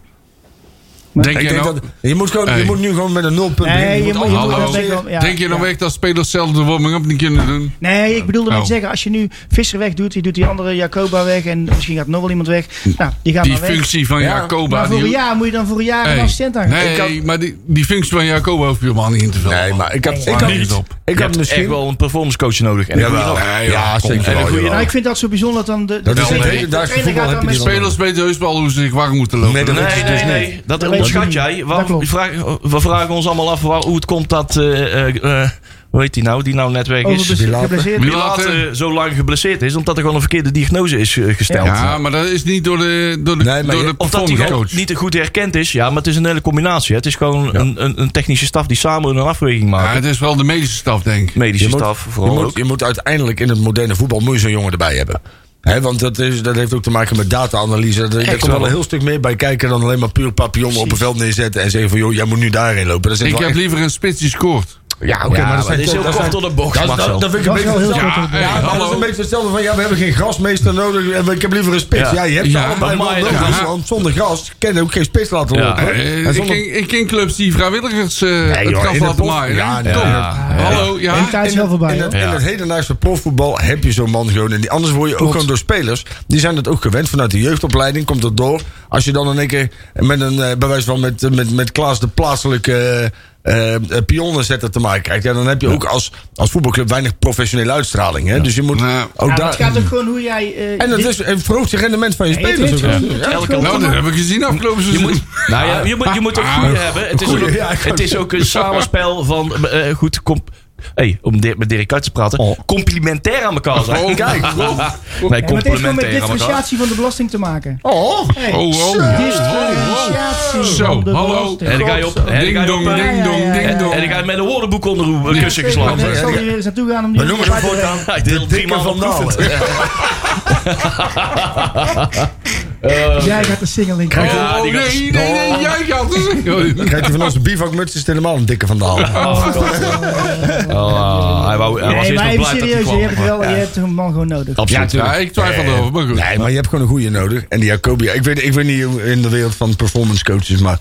D: Denk
B: Ik
D: je
B: denk
D: nou...
B: dat, je, moet gewoon,
D: Hey.
B: je moet nu gewoon met een nulpunt
E: Nee,
B: beginnen.
E: je moet-
B: alles-
E: dat
D: Hallo,
E: ben ik wel- ja,
D: denk je nou
E: ja.
D: echt dat spelers zelf de warming-up niet kunnen doen?
E: Nee, ik bedoelde met
D: Oh.
E: zeggen, als je nu Visser weg doet, die doet die andere Jacoba weg en misschien gaat nog wel iemand weg. Nou, die gaan
D: Die
E: dan weg.
D: functie van
B: Ja,
D: Jacoba...
E: maar voor een
D: die-
E: jaar moet je dan voor een jaar
D: Hey,
E: een assistent aan.
D: Nee, maar die, die functie van Jacoba hoef je helemaal niet in te vullen.
B: Nee, maar ik had, ik
D: Waar
B: had,
D: niet
B: ik
E: dus
B: had,
D: op.
C: misschien... echt
B: misschien...
C: wel een performance coach nodig. En
B: Jawel. Ja,
D: kom.
B: zeker
C: En een
B: wel,
C: goede-
B: jawel.
E: Nou, ik vind dat zo bijzonder dat dan de, de,
B: Dat is
D: nee,
B: het
E: trainer- de
B: hedendaagse
E: trainer
B: voetbal,
E: gaat
B: heb je
E: dan
B: die
E: met
B: dan
D: Spelers weten heus wel hoe ze zich warm moeten lopen.
B: Nee, dat weet
C: Nee,
B: je
C: nee,
B: dus niet.
C: nee. Dat
E: Dat weet je
C: onderschat
E: niet.
C: jij.
E: Dat
C: Waarom-
E: klopt.
C: je vraagt- we vragen ons allemaal af waar- hoe het komt dat... eh, eh, eh, hoe heet die nou? Die nou net weg is.
E: overbes-
B: Die laten.
E: geblesseerd.
D: Wie
C: Die later
D: later?
C: zo lang geblesseerd is. Omdat er gewoon een verkeerde diagnose is eh, gesteld.
D: Ja, maar dat is niet door de, door de,
B: Nee, maar
D: door
B: je-
D: de
C: Of dat hij
D: performance
C: gewoon
D: coach.
C: niet goed herkend is. Ja, maar het is een hele combinatie. hè. Het is gewoon een, een, een technische staf die samen een afweging
D: Ja,
C: maakt.
D: het is wel de medische staf, denk ik.
C: Medische
B: Je moet-
C: staf
B: Je
C: vooral
B: moet,
C: ook.
B: je moet uiteindelijk in het moderne voetbal moet je zo'n jongen erbij hebben. Hè, want dat, is, dat heeft ook te maken met data-analyse. Dat- Daar komt wel
C: wel.
B: een heel stuk meer bij kijken dan alleen maar puur papillon op een veld neerzetten. En zeggen van, joh, jij moet nu daarheen lopen. Dat is
D: Ik
B: wel
D: heb
B: echt-
D: liever een spits die scoort.
B: Ja, oké,
C: Ja,
B: maar
C: maar
B: dat zijn
C: dit is heel
B: dat
C: kort
B: zijn-
C: door de bocht,
B: dat- dat-
C: Marcel.
B: Dat vind ik
E: Dat
B: een
E: is
B: beetje
E: wel heel
B: hetzelfde.
E: kort.
D: Ja, hey,
B: Ja, maar dat is
D: hallo.
B: een beetje hetzelfde van, ja, we hebben geen grasmeester nodig. En ik heb liever een spits.
C: Ja.
B: Ja, je hebt ze
D: Ja.
B: allebei wel
C: Amai,
B: nodig. dus,
D: ja.
B: Want zonder gras kan je ook geen spits laten
C: Ja.
B: lopen.
D: Eh,
B: En
D: ik,
B: zonder-
D: ken, ik ken clubs die vrijwilligers eh
B: joh,
D: het gras
B: in de
D: laten
B: bos-
D: maaien. hè?
B: Ja,
D: Kom.
C: ja, ja.
D: Hallo, ja.
E: En tijd is
B: In
E: wel
B: het-
E: voorbij.
B: In
E: hè?
B: het,
C: hoor.
B: in het
C: Ja.
B: hedendaagse profvoetbal heb je zo'n man gewoon. En die, anders word je ook gewoon door spelers. Die zijn het ook gewend. Vanuit de jeugdopleiding komt dat door. Als je dan in één keer met een, eh, bij wijze van met, eh, met, met Klaas de plaatselijke eh eh, pionnenzetter te maken krijgt. Ja, dan heb je ook als, als voetbalclub weinig professionele uitstraling. Hè? Dus je moet
D: Ja.
B: ook
E: Ja, maar
B: daar.
E: het gaat ook gewoon hoe jij... eh,
B: en dat
E: dit-
B: is, het verhoogt je rendement van je
E: Nee, het
B: spelers.
E: is-
B: ook.
E: het is
C: Elke
E: gewoon-
D: Nou, dat hebben we gezien afgelopen
C: Je
D: seizoen. Ah,
C: moet, nou ja,
E: Ah,
C: je moet, je moet ook goede hebben. Het is,
B: Goeie,
C: ook,
B: ja, ik wou
C: het is ook een samenspel van eh, goed. Comp hey, om Dirk- met Dirk Kuyt te praten.
E: Oh.
C: Complimentair aan elkaar zijn.
D: Oh,
B: kijk.
C: Nee,
E: Ja, maar het heeft gewoon met
C: complimentair aan elkaar.
E: differentiatie van de belasting te maken.
B: Oh,
E: Hey,
D: Oh, oh,
E: Differentiatie
D: Zo,
E: van de
D: hallo.
E: belasting.
C: En dan ga je op. en dan ga je
D: Ding
C: op,
D: dong,
C: eh,
D: ding dong,
E: ja,
D: ding
E: ja.
D: dong.
C: En ik ga je met een woordenboek onder uw eh, kussen geslagen.
E: Ik zal hier weer eens naartoe gaan om die...
B: we noemen hem voortaan
C: Ja, ik deel
B: de
C: drie
B: dikke
C: maanden
B: van Dalen.
E: Jij gaat de single in.
D: Oh,
C: Ja, die
D: nee,
C: gaat-
D: nee, nee, jij gaat
B: Dan
D: dus.
B: krijgt hij van onze bivakmuts is het helemaal een dikke van Dalen.
C: Oh, hij wou, hij was
E: Nee,
C: eerst
E: maar
C: nog blij
E: even
C: dat hij
E: serieus, je
C: kwam.
E: hebt, wel, je hebt een man gewoon nodig.
C: Absoluut.
D: Ja, ik twijfel erover, maar goed.
B: Nee, maar je hebt gewoon een goede nodig. En die Jacobia, ik weet, ik weet niet hoe in de wereld van performance coaches, maar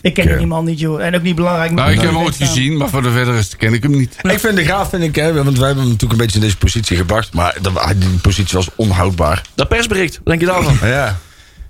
E: Ik ken
B: Ja.
E: die man niet, joh. En ook niet belangrijk.
D: Nou, ik
E: moet
D: heb hem
E: er
D: ooit
E: staan.
D: gezien, maar voor de verder rest ken ik hem niet.
B: ik vind de graaf, vind ik, hè, want wij hebben hem natuurlijk een beetje in deze positie gebracht, maar dat, die positie was onhoudbaar.
C: Dat persbericht, wat denk je daarvan?
B: Ja,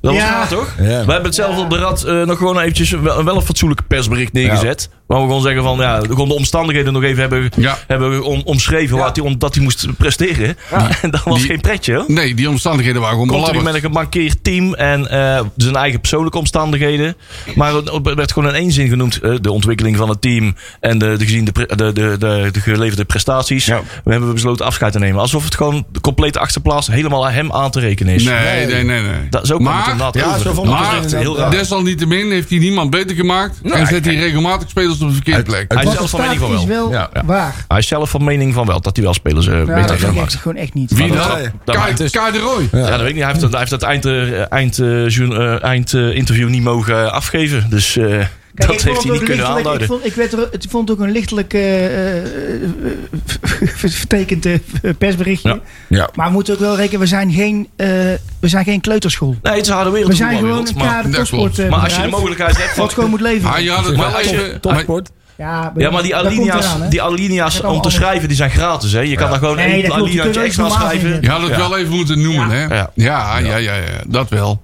C: Dat was
E: Ja.
C: raar, toch?
B: Ja.
C: We hebben het zelf op de rad eh, nog gewoon eventjes wel, wel een fatsoenlijke persbericht neergezet. Waar we gewoon zeggen van, ja, we gewoon de omstandigheden nog even hebben,
D: Ja.
C: hebben we om, omschreven wat hij, omdat hij moest presteren. En dat was
D: Die-
C: geen pretje hoor.
D: Nee, die omstandigheden waren gewoon
C: Komt hij met
D: belabberd.
C: een gemankeerd team en eh, zijn eigen persoonlijke omstandigheden. Maar het werd gewoon in één zin genoemd. eh, de ontwikkeling van het team en de, de, gezien de, pre- de, de, de, de geleverde prestaties.
B: Ja.
C: We hebben besloten afscheid te nemen. Alsof het gewoon de complete achterplaats helemaal aan hem aan te rekenen is.
D: Nee, nee, nee. nee.
C: Dat, zo kwam het
D: maar
C: inderdaad
B: Ja,
C: over.
B: zo vond ik
C: Dat is
D: het
C: echt heel
B: inderdaad.
C: raar.
D: desalniettemin heeft hij niemand beter gemaakt. en zet hij regelmatig spelers op de verkeerde plek.
C: Hij is
E: Want
C: zelf
E: het
C: van mening van
E: is
C: wel.
E: eh, wel
B: Ja, ja.
E: waar.
C: Hij is zelf van mening van wel dat hij wel spelers eh,
E: Ja,
C: beter
E: dat
C: heeft
E: vind ik echt
C: gemaakt.
E: gewoon echt niet.
D: Wie
B: Maar
D: dan?
B: dat-
C: dat maakt
D: Ka-
B: dus-
D: Ka de Roy.
C: Ja, dat weet ik niet. Hij heeft, dat- hij heeft dat eind, eh, eind, eh, journ- eh, eind, eh, interview niet mogen afgeven. Dus eh,
E: Kijk,
C: dat
E: ik
C: heeft
E: vond
C: hij
E: het
C: niet
E: ook
C: kunnen
E: lichtelijk-
C: aanduiden.
E: Ik vond, ik werd er, het vond ook een lichtelijk eh, eh, vertekend eh, persberichtje.
C: Ja.
B: Ja.
E: Maar we moeten ook wel rekenen, we zijn geen, eh, we zijn geen kleuterschool.
C: Nee, het is een harde wereld.
E: We
C: de
E: zijn gewoon
C: voetbalwereld,
E: een
C: maar-
E: kader
D: dat
E: topsport. eh,
C: Maar als je de
E: bedrijf,
C: mogelijkheid hebt van...
E: Wat gewoon moet leven.
D: Maar Ah, je had het wel even... maar-
E: Ja,
C: Ja, maar die
E: dat komt
C: alinea's,
E: eraan, hè.
C: die alinea's
E: Dat
C: om te
E: allemaal-
C: schrijven, die zijn gratis. Hè? Je kan daar gewoon
E: Nee,
C: één
E: dat klopt. Die
C: alinea's
E: kun je
C: extra
E: ook normaal
C: schrijven.
E: vinden.
D: Ah, Je had het
C: Ja.
D: wel even moeten noemen, hè?
C: Ja.
D: Ja. Ja, ja, ja, dat wel.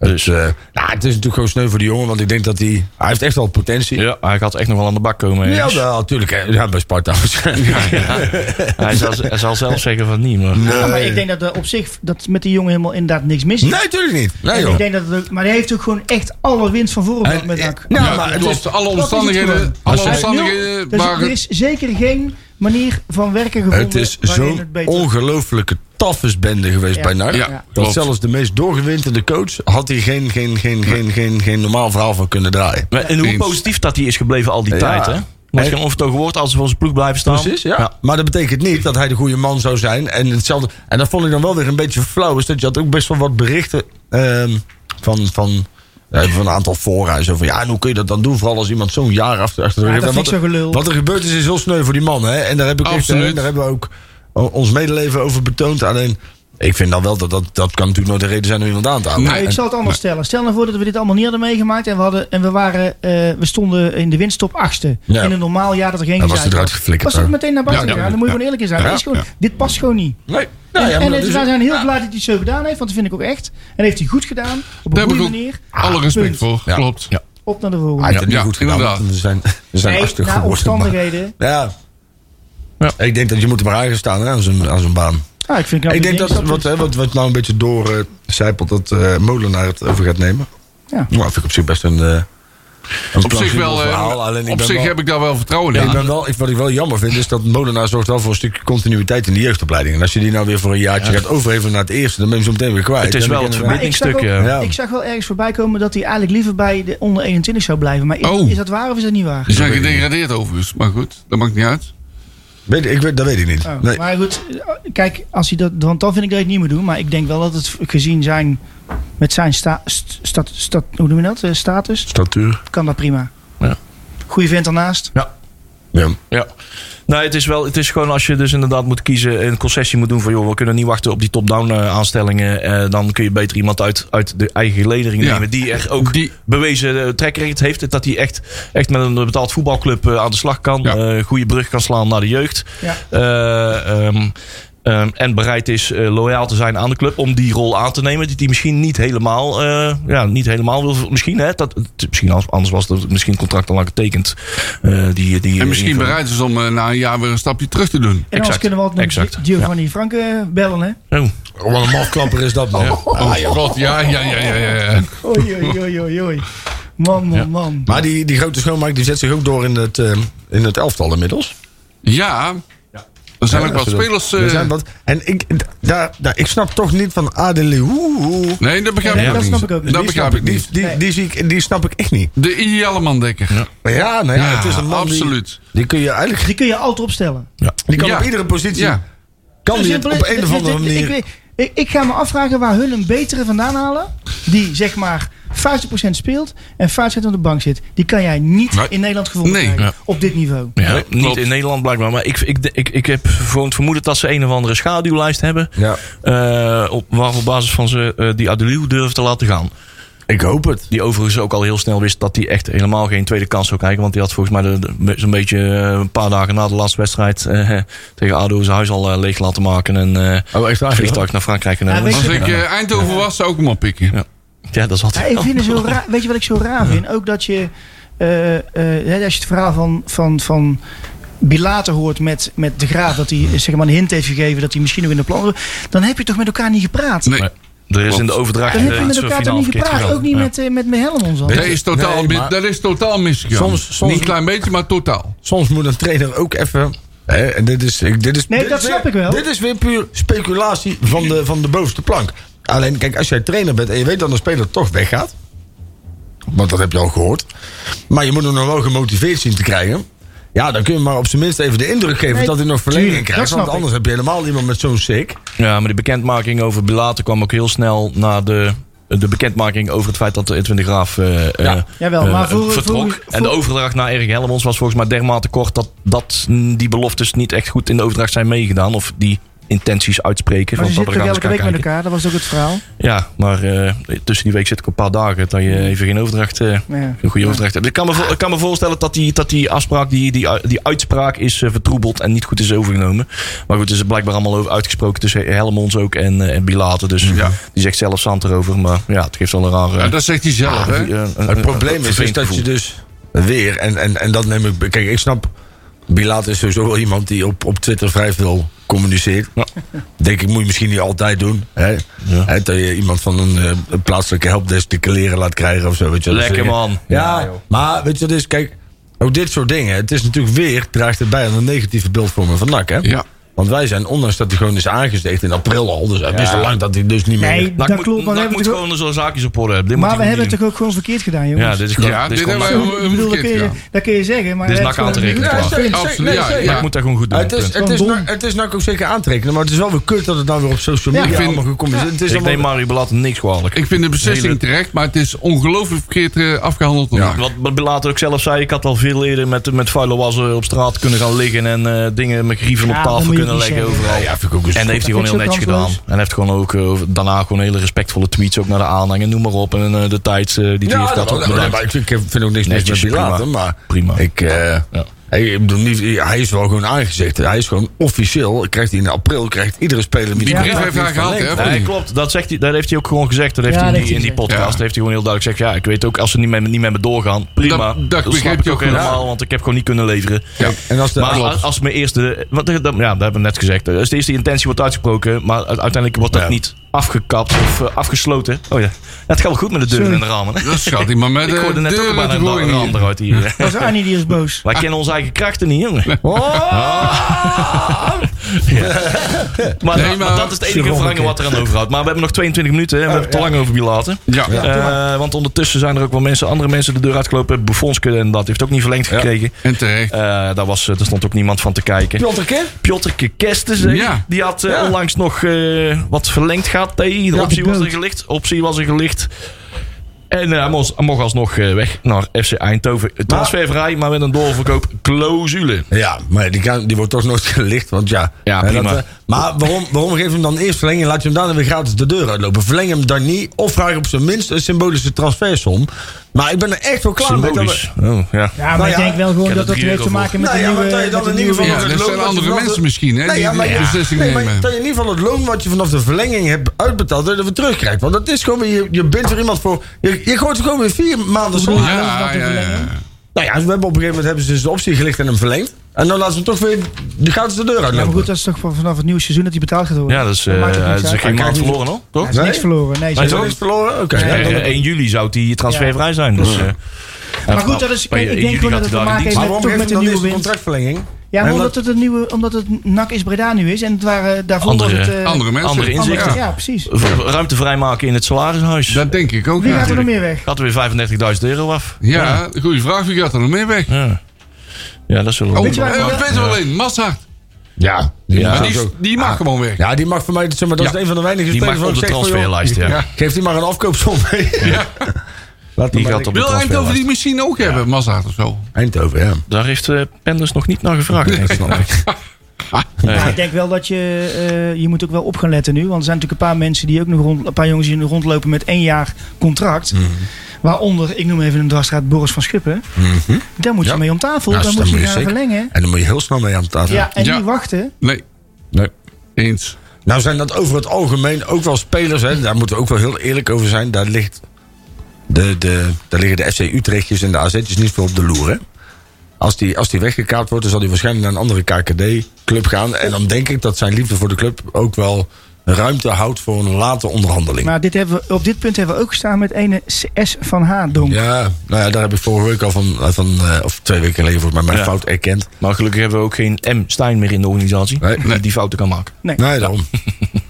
B: Dus eh, nou, het is natuurlijk gewoon sneu voor die jongen, want ik denk dat hij. Hij heeft echt wel potentie.
C: Ja, hij gaat echt nog wel aan de bak komen.
B: Ja,
C: jongens.
B: wel, natuurlijk. hè. Ja, bij Sparta waarschijnlijk.
C: Hij, zal, hij zal zelf zeggen van niet, maar...
E: Ja, maar ik denk dat er op zich dat met die jongen helemaal inderdaad niks mis is.
B: Nee, natuurlijk niet. Nee,
E: ik
B: joh.
E: denk dat het ook- maar hij heeft ook gewoon echt alle winst van voren gehad met Nak.
B: Ja,
D: Ja,
B: maar het
D: klopt.
B: is-
D: alle
E: is het
D: omstandigheden,
E: gewoon.
D: alle
E: Hij heeft nul-
D: omstandigheden
E: er, is, er
D: waren...
E: is zeker geen manier van werken gevonden
B: Het is
E: waarin
B: zo'n
E: het beter
B: ongelofelijke tafesbende geweest
E: Ja.
B: bij NAC.
D: Ja,
B: dat
D: klopt.
B: zelfs de meest doorgewinterde coach had hier geen, geen, geen, geen, geen, geen normaal verhaal van kunnen draaien.
C: Maar- En hoe
D: Eens.
C: positief dat hij is gebleven al die
B: Ja.
C: tijd, hè? Dat is
B: En-
C: geen onvertogen woord als ze voor zijn ploeg blijven staan.
B: Precies, ja. Maar dat betekent niet dat hij de goede man zou zijn. En, hetzelfde, en dat vond ik dan wel weer een beetje flauw. Is dat je had ook best wel wat berichten ehm, van, van, eh, van een aantal fora. en Zo van, ja, en hoe kun je dat dan doen? Vooral als iemand zo'n jaar achter, achter de
E: Ja,
B: rug
E: dat vind
B: heeft.
E: ik
B: En
E: zo
B: wat,
E: gelul.
B: wat er gebeurd is, is heel sneu voor die man. Hè? En daar, heb ik echt,
D: Absoluut.
B: eh, daar hebben we ook o- ons medeleven over betoond. Alleen, ik vind dan wel dat dat, dat kan natuurlijk nooit de reden zijn om iemand aan te houden.
E: Nou, ik
B: En-
E: zal het anders stellen. Stel nou voor dat we dit allemaal niet hadden meegemaakt en we, hadden, en we, waren, eh, we stonden in de winststop achtste.
B: Ja.
E: In een normaal jaar dat er geen
B: Dan was
E: gezeik
B: het eruit geflikkerd,
E: Was het
B: hoor.
E: meteen naar buiten
D: Ja, ja,
E: gegaan? Dan moet je gewoon eerlijk in zijn.
D: ja,
E: Dat is gewoon,
D: ja.
E: Dit past gewoon niet.
B: nee, nou ja,
E: en
B: maar dat
E: het-
D: dus
B: is-
E: wij zijn heel blij dat hij het zo gedaan heeft, want dat vind ik ook echt. En heeft hij goed gedaan, op een
D: Daar heb
E: goede
D: ik ook
E: manier. Ah,
D: alle
E: punt.
D: respect voor,
B: Ja.
D: klopt.
B: Ja.
E: Op naar de
B: Hij
E: volgende.
B: heeft het
D: Ja,
B: niet goed gedaan.
D: inderdaad.
B: want We zijn, we zijn
E: Nee,
B: achter
E: naar
B: geworden, maar-
E: omstandigheden.
B: Ja.
C: Ja.
B: Ik denk dat je moet er maar aan gaan staan hè, aan zo'n aan zo'n baan.
E: Ah, ik vind knap
B: ik
E: hij
B: denk dat
E: ingestapt
B: wat, hè, wat, wat nou een beetje doorcijpelt, dat eh Molenaar het over gaat nemen.
E: Ja.
B: Nou, vind ik op zich best een. eh, een
D: Op zich wel, eh,
B: verhaal. Alleen ik
D: op
B: ben
D: zich
B: wel,
D: heb ik daar wel vertrouwen in.
B: ik ben wel, ik- wat ik wel jammer vind, is dat Molenaar zorgt wel voor een stukje continuïteit in de jeugdopleiding. En als je die nou weer voor een jaartje gaat overhevelen naar het eerste, dan ben je hem zo meteen weer kwijt.
C: Het is
B: En dan
C: wel het
B: kan je-
E: Maar ik zag, ook,
C: verbindingstuk,
B: ja.
E: ik zag wel ergens voorbij komen dat hij eigenlijk liever bij de onder 21 zou blijven. Maar is,
D: Oh.
E: is dat waar of is dat niet waar?
D: Ze zijn gedegradeerd overigens, maar goed, dat maakt niet uit.
B: Weet, ik weet, dat weet ik niet.
E: Oh,
B: nee.
E: Maar goed, kijk, als hij dat, want dan vind ik dat hij het niet moet doen. Maar ik denk wel dat het gezien zijn, met zijn sta, st- stat- stat- hoe noem je dat? Eh, status,
B: Statuur.
E: kan dat prima.
C: Ja.
E: Goeie vent daarnaast.
B: Ja.
C: Ja. Nou, het is, wel, het is gewoon als je dus inderdaad moet kiezen, een concessie moet doen van joh, we kunnen niet wachten op die top-down eh, aanstellingen. eh, dan kun je beter iemand uit, uit de eigen geledering
D: Ja.
C: nemen die er ook
D: Die-
C: bewezen eh, track record heeft. Dat hij echt, echt met een betaald voetbalclub eh, aan de slag kan.
D: Ja.
C: eh, goede brug kan slaan naar de jeugd.
E: Ja.
C: Eh, ehm, ehm, en bereid is eh, loyaal te zijn aan de club om die rol aan te nemen. Die hij misschien niet helemaal, eh, ja, niet helemaal wil. Misschien, hè, dat, misschien anders- anders was het misschien het contract al lang getekend. eh, die, die,
D: En misschien
C: die-
D: bereid is om eh, na een jaar weer een stapje terug te doen.
E: En
C: Exact,
E: anders kunnen we altijd nog
C: exact.
E: Giovanni Franke bellen, hè?
C: Oh.
B: Wat een mafklapper is dat,
D: Oh
B: man.
D: god, ja, ja, ja, ja, ja. ja.
E: Oei, oei, oei, oei, oei. Man, man, man.
B: Maar die, die grote schoonmaak die zet zich ook door in het, eh, in het elftal inmiddels.
D: Ja, er zijn ook
B: Ja,
D: wat
B: dat-
D: spelers...
B: er
D: eh,
B: zijn wat, en ik, d- daar, daar, ik snap toch niet van Adeli.
D: Nee, dat begrijp
E: Nee,
D: ik
E: dat
D: ook
E: snap
D: niet.
E: ik ook niet.
D: Dat begrijp ik
B: Die,
D: niet.
B: die, die, zie ik, die snap ik echt niet.
D: De ideale mandekker. Ja,
B: Maar ja, nou ja, het is een man die-
D: absoluut.
B: Die, kun je eigenlijk.
E: Die kun je altijd opstellen.
B: Die kan
D: Ja.
B: op iedere positie.
D: Ja.
B: Kan die
E: Zo
B: het
E: simpel
B: Dus op
E: is het.
B: een
E: Het
B: of
E: is-
B: andere
E: het-
B: manier.
E: dus Ik, weet- ik, ik ga me afvragen waar hun een betere vandaan halen. Die zeg maar 50% speelt en 50% op de bank zit. Die kan jij niet
D: Nee.
E: in Nederland gevonden
D: Nee.
E: krijgen.
D: Ja.
E: Op dit niveau.
C: Ja,
D: Nee,
C: niet
D: klopt.
C: in Nederland blijkbaar. Maar ik, ik, ik, ik heb gewoon het vermoeden dat ze een of andere schaduwlijst hebben.
B: Ja.
C: eh, op, waar op basis van ze eh, die Adelieu durven te laten gaan.
B: Ik hoop het.
C: Die overigens ook al heel snel wist dat hij echt helemaal geen tweede kans zou krijgen. Want die had volgens mij de- de- zo'n beetje eh, een paar dagen na de laatste wedstrijd eh, tegen ADO zijn huis al eh, leeg laten maken. En eh
B: Oh, echt waar?
C: vliegtuig naar Frankrijk genomen.
E: weet
C: Ja,
D: Als
E: je-
D: ik eh, Eindhoven was, zou ik hem oppikken.
C: dat is
E: Ja,
C: altijd
E: ik
C: wel.
E: vind het zo raar, weet je wat ik zo raar vind? Ook dat je eh, eh, hè, als je het verhaal van, van, van Bilater hoort met, met de graaf, dat hij eh, zeg maar, een hint heeft gegeven dat hij misschien nog in de plannen. dan heb je toch met elkaar niet gepraat?
D: Nee,
C: Nee. Er is in de overdracht
E: Dan heb je
C: eh,
E: met
C: iets
E: elkaar toch
C: finaal
E: niet
C: verkeerd
E: gepraat?
C: gegaan.
E: Ook niet
C: Ja.
E: met, eh, met mijn helm ons al.
D: dat is totaal,
B: Nee,
D: mis-
B: maar-
D: dat is totaal misgegaan.
B: Soms- soms-
D: Niet een klein beetje, maar totaal.
B: Soms moet een trainer ook even. Hè, en dit is, ik- dit is,
E: Nee,
B: dit
E: dat
B: is
E: snap
B: weer-
E: ik wel.
B: Dit is weer puur speculatie van de, van de bovenste plank. Alleen, kijk, als jij trainer bent en je weet dat een speler toch weggaat. Want dat heb je al gehoord. Maar je moet hem nog wel gemotiveerd zien te krijgen. Ja, dan kun je maar op zijn minst even de indruk geven
E: Nee,
B: dat hij nog verlenging
E: tuurlijk,
B: krijgt.
E: dat
B: Want
E: snap ik.
B: anders heb je helemaal iemand met zo'n sick.
C: Ja, maar die bekendmaking over Belater kwam ook heel snel na de, de bekendmaking over het feit dat Edwin de Graaf eh, eh,
E: Jawel,
C: eh,
E: maar voor-
C: vertrok.
E: voor-
C: en de
E: voor-
C: overdracht naar Erik Helmons was volgens mij dermate kort dat, dat mm, die beloftes niet echt goed in de overdracht zijn meegedaan. Of die intenties uitspreken.
E: Maar ze
C: want
E: zitten
C: dat
E: toch
C: we
E: elke
C: gaan
E: week
C: eens
E: met
C: gaan
E: elkaar, dat was ook het verhaal.
C: kijken. Ja, maar eh, tussen die week zit ik een paar dagen dat je even geen overdracht... eh,
E: Ja.
C: een goede overdracht. hebt. Ik kan me, vo- ik kan me voorstellen dat die, dat die afspraak, die, die, u- die uitspraak is eh, vertroebeld en niet goed is overgenomen. Maar goed, het is blijkbaar allemaal over uitgesproken tussen Helmons ook en, eh en Bilater. Dus
D: Ja.
C: die zegt zelf zand erover. Maar ja, Ah, het geeft wel een rare... eh,
D: Ja, dat zegt hij zelf, hè?
B: Het probleem is, is dat je dus weer, en, en, en dat neem ik. Kijk, ik snap. Bilaat is sowieso wel iemand die op, op Twitter vrij veel communiceert.
C: Ja.
B: Denk ik, moet je misschien niet altijd doen. Hè? Hè, dat je iemand van een, eh, een plaatselijke helpdesk de kleren laat krijgen of zo. Weet je, wat ik
C: Lekker,
B: zeg?
C: man.
B: Ja, maar weet je wat het is? Kijk, ook dit soort dingen. Het is natuurlijk weer, draagt het bij aan een negatieve beeldvorming van NAC. Hè?
C: eh,
D: Ja.
B: Want wij zijn, ondanks dat hij gewoon is aangezegd in april al. Dus het is al lang dat hij dus niet meer...
E: Nee,
C: Nou,
E: dat
C: moet,
E: klopt, maar we
C: NAC
E: hebben
C: moet
E: het ook-
C: gewoon zo'n zaakjes op orde hebben. Dit
E: maar
C: moet
E: we
C: hij
E: hebben het
C: niet
E: toch ook gewoon verkeerd gedaan,
C: doen. Ja,
E: jongens.
C: dit is gewoon...
D: Ja,
C: dit is
D: dit
C: gewoon
D: hebben
C: NAC.
D: wij-
E: Ik bedoel, dat kun, je,
D: verkeerd gedaan.
E: dat kun je zeggen, maar...
C: Dit is NAC
E: het gewoon-
C: aan te rekenen.
B: Ja,
C: Ja,
B: zeker,
D: absoluut.
B: zeker, nee,
D: Ja,
B: zeker.
D: ja.
C: NAC moet daar gewoon goed doen.
B: het, is,
C: punt.
B: het, is,
E: Gewoon
B: nou- het is nou ook zeker aantrekken, maar het is wel weer kut dat het nou weer op social media
E: Ja, ik
D: vind-
B: allemaal gecommuniceerd het is.
C: Ik neem
B: allemaal-
C: Mario Bilater niks kwalijk.
D: Ik vind de beslissing
C: Hele-
D: terecht, maar het is ongelooflijk verkeerd eh, afgehandeld. door NAC.
C: Wat wat Belater ook zelf zei, ik had al veel eerder met, met vuile wassen op straat kunnen gaan liggen en eh, dingen met grieven
E: Ja,
C: op
E: dat
C: tafel
E: moet je
C: kunnen
E: ook niet
C: leggen
E: zeggen.
C: overal.
B: ja, vind ik ook eens
C: en dat heeft hij gewoon
E: vind
C: heel
E: ik
C: netjes
E: zo
C: gedaan.
E: kansloos.
C: En hij heeft gewoon ook eh, daarna gewoon hele respectvolle tweets ook naar de aanhang en noem maar op. En eh, de tijd eh, die hij
B: Ja,
C: heeft
B: dat,
C: gehad ook
B: dat,
C: bedankt.
B: maar ik vind, ik vind ook niks mis met
C: Netjes,
B: Bilater,
C: prima.
B: maar
C: Prima.
B: Ik, eh, hey, ik bedoel niet, hij is wel gewoon aangezegd. Hij is gewoon officieel, krijgt hij in april, krijgt iedere speler...
D: Die
B: een
D: brief
B: contract
D: heeft hij
B: niet
D: gehaald,
B: verlengd.
D: hè?
C: Nee, klopt. Dat, zegt hij, dat heeft hij ook gewoon gezegd. Dat heeft
E: Ja,
C: hij in
E: dat
C: die, in
E: heeft
C: die
E: hij
C: podcast
D: Ja.
C: heeft hij gewoon heel duidelijk gezegd. Ja, ik weet ook als ze niet met, me- niet met me doorgaan. Prima.
D: Dat- dat
C: snap
D: begreep
C: ik
D: je
C: ook
D: ook, ja.
C: helemaal. Want ik heb gewoon niet kunnen leveren.
D: Ja.
B: En als de,
C: Maar
B: klopt.
C: als, als mijn eerste. Want dat, dat- ja, dat hebben we net gezegd. Als de eerste intentie wordt uitgesproken, maar u- uiteindelijk wordt dat
B: Ja.
C: niet afgekapt of eh, afgesloten. Oh ja. Ja, Het gaat wel goed met de deuren
E: Sorry.
C: en de ramen. hè?
D: Dat schat hij, maar met eh,
C: Ik
D: de
C: hoorde net ook
D: deur
C: bijna
D: uit
C: een
D: de
C: ra-
D: gooiing
C: ram
D: hier.
C: eruit hier. hè.
E: Dat is Annie die is boos.
C: Wij kennen onze eigen krachten niet, jongen. Oh! Ja. Maar,
D: Nee,
C: dat- maar
D: maar-
C: dat is het enige verhangen wat er aan overhoudt. Maar we hebben nog 22 minuten en we hebben het te lang over bilaten.
D: Ja.
C: Eh, want ondertussen zijn er ook wel mensen, andere mensen de deur uitgelopen. Bufonske en dat heeft ook niet verlengd gekregen.
D: En terecht.
C: Eh, daar, was, eh, daar stond ook niemand van te kijken.
B: Pjotterke?
C: Pjotterke Kersten,
D: Ja.
C: die had eh,
B: Ja.
C: onlangs nog eh, wat verlengd gehad. Nee, de
E: Ja,
C: optie was er
E: bedankt.
C: gelicht. Optie was er gelicht. En eh, hij mocht, hij mocht alsnog eh, weg naar FC Eindhoven. Transfervrij, maar met een doorverkoop clausule.
B: Ja, maar die, kan, die wordt toch nooit gelicht, want ja.
C: Ja,
B: hè,
C: prima.
B: eh, maar waarom, waarom geef je hem dan eerst verlenging en laat je hem daarna weer gratis de deur uitlopen? Verleng hem dan niet of vraag op zijn minst een symbolische transfersom. Maar ik ben er echt wel klaar mee. dat
C: Symbolisch.
B: we-
C: Oh, ja.
E: Ja, maar
B: Nou
E: ik
B: ja,
E: denk wel gewoon
C: ik heb
E: dat
C: er
E: dat
C: drie
E: heeft te
C: euro
E: maken met
B: Nou
E: de
B: ja,
E: nieuwe...
B: maar dat je dan
E: met
B: in
E: de
B: ieder geval...
E: nieuwe-
D: Ja,
B: het
D: dat zijn
B: loon wat je
D: andere
B: vanaf de-
D: mensen misschien, hè,
B: Nee,
D: die
B: ja, maar,
D: die
B: ja.
D: beslissingen
B: nee, maar
D: nemen.
B: dat je in ieder geval het loon wat je vanaf de verlenging hebt uitbetaald... dat je dat weer terugkrijgt. Want dat is gewoon weer... Je, je bent er iemand voor... Je, je gooit er gewoon weer vier maanden zon.
D: Ja, ja, ja, ja.
B: Nou ja, we hebben op een gegeven moment hebben ze dus de optie gelicht en hem verlengd. En dan laten ze hem toch weer de gratis de deur
E: Ja, maar
B: uitlopen.
E: goed, dat is toch van- vanaf het nieuwe seizoen dat hij betaald gaat worden.
C: Ja, dat is,
E: maakt
C: eh
E: ook niks
C: dat is geen
E: uit.
B: Hij
C: maand
B: krijgt
C: verloren al, toch?
E: Hij is niks
B: Nee?
E: verloren. Nee,
B: Hij is
E: zo-
B: ook niet verloren? Oké. ja,
C: Eh,
B: dan-
C: 1 juli zou die transfervrij zijn. Dus, eh,
E: Maar goed, dat is-
C: Maar
E: ik
C: ja,
E: denk
C: juli
E: gewoon
C: gaat hij
E: dat het te
C: daar in
E: maken
C: dienst.
E: heeft met-
B: Maar waarom
E: toch met
B: geeft hem
E: een
B: dan
E: nieuwe
B: deze
E: wind.
B: contractverlenging?
E: Ja,
B: En
E: maar
B: dat-
E: omdat het, een nieuwe, omdat het NAC is Breda nu is. En het waren, daarvoor
C: Andere-
E: was het... eh,
D: Andere mensen.
C: Andere
E: andere-
C: inzichten.
E: Ja, precies.
C: v- Ruimte vrijmaken in het salarishuis.
D: Dat denk ik ook.
E: Wie gaat er nog
D: Ja,
E: meer weg?
C: Gaat er weer 35.000 euro af.
D: ja goede vraag. Wie gaat er nog meer weg?
C: Ja, ja dat zullen we
D: Oh,
C: wel
D: ik
E: je waar-
D: weet wel één. Massa.
B: Ja, die
C: Ja.
B: mag
D: Maar
B: ook
D: die,
B: zo.
D: die mag gewoon weg.
B: Ja, die mag voor mij, zeg maar, dat is
D: Ja.
B: een van de weinige
C: Die
B: spelers
C: mag op de
B: waarvan ik zeg van, joh,
C: transferlijst, ja.
D: ja.
B: Geef die maar een afkoopsom mee. Laat
C: Die
B: hem
C: gaat op de
D: Wil Eindhoven
C: transferlijst.
D: die misschien ook hebben, Massa of zo?
B: Eindhoven, ja.
C: Daar heeft eh, Penders nog niet naar gevraagd. denk ik.
E: Ja, ik denk wel dat je... eh, je moet ook wel op gaan letten nu. Want er zijn natuurlijk een paar mensen die ook nog rond... Een paar jongens die nog rondlopen met één jaar contract. Waaronder, ik noem even een dwarsstraat, Boris van Schuppen. Daar moet je
B: Ja.
E: mee om tafel.
B: Ja,
E: dan
B: daar
E: moet je
B: moet je
E: gaan
B: zeker.
E: verlengen.
B: En dan moet je heel snel mee aan de tafel.
E: Ja, en
D: Ja.
E: niet wachten.
D: Nee.
B: Nee.
D: Eens.
B: Nou zijn dat over het algemeen ook wel spelers, hè. daar moeten we ook wel heel eerlijk over zijn. Daar ligt de, de, daar liggen de FC Utrechtjes en de AZ'tjes niet veel op de loer. Hè? Als die, als die weggekaapt wordt, dan zal hij waarschijnlijk naar een andere KKD-club gaan. En dan denk ik dat zijn liefde voor de club ook wel ruimte houdt voor een late onderhandeling.
E: Maar dit hebben we, op dit punt hebben we ook gestaan met ene S van H. Donk.
B: ja, nou ja, daar heb ik vorige week al van, van eh, of twee weken geleden volgens mij, mijn
C: Ja.
B: fout erkend.
C: Maar gelukkig hebben we ook geen M. Stijn meer in de organisatie.
B: Nee.
C: Die die fouten kan maken.
E: Nee.
B: Nee, daarom.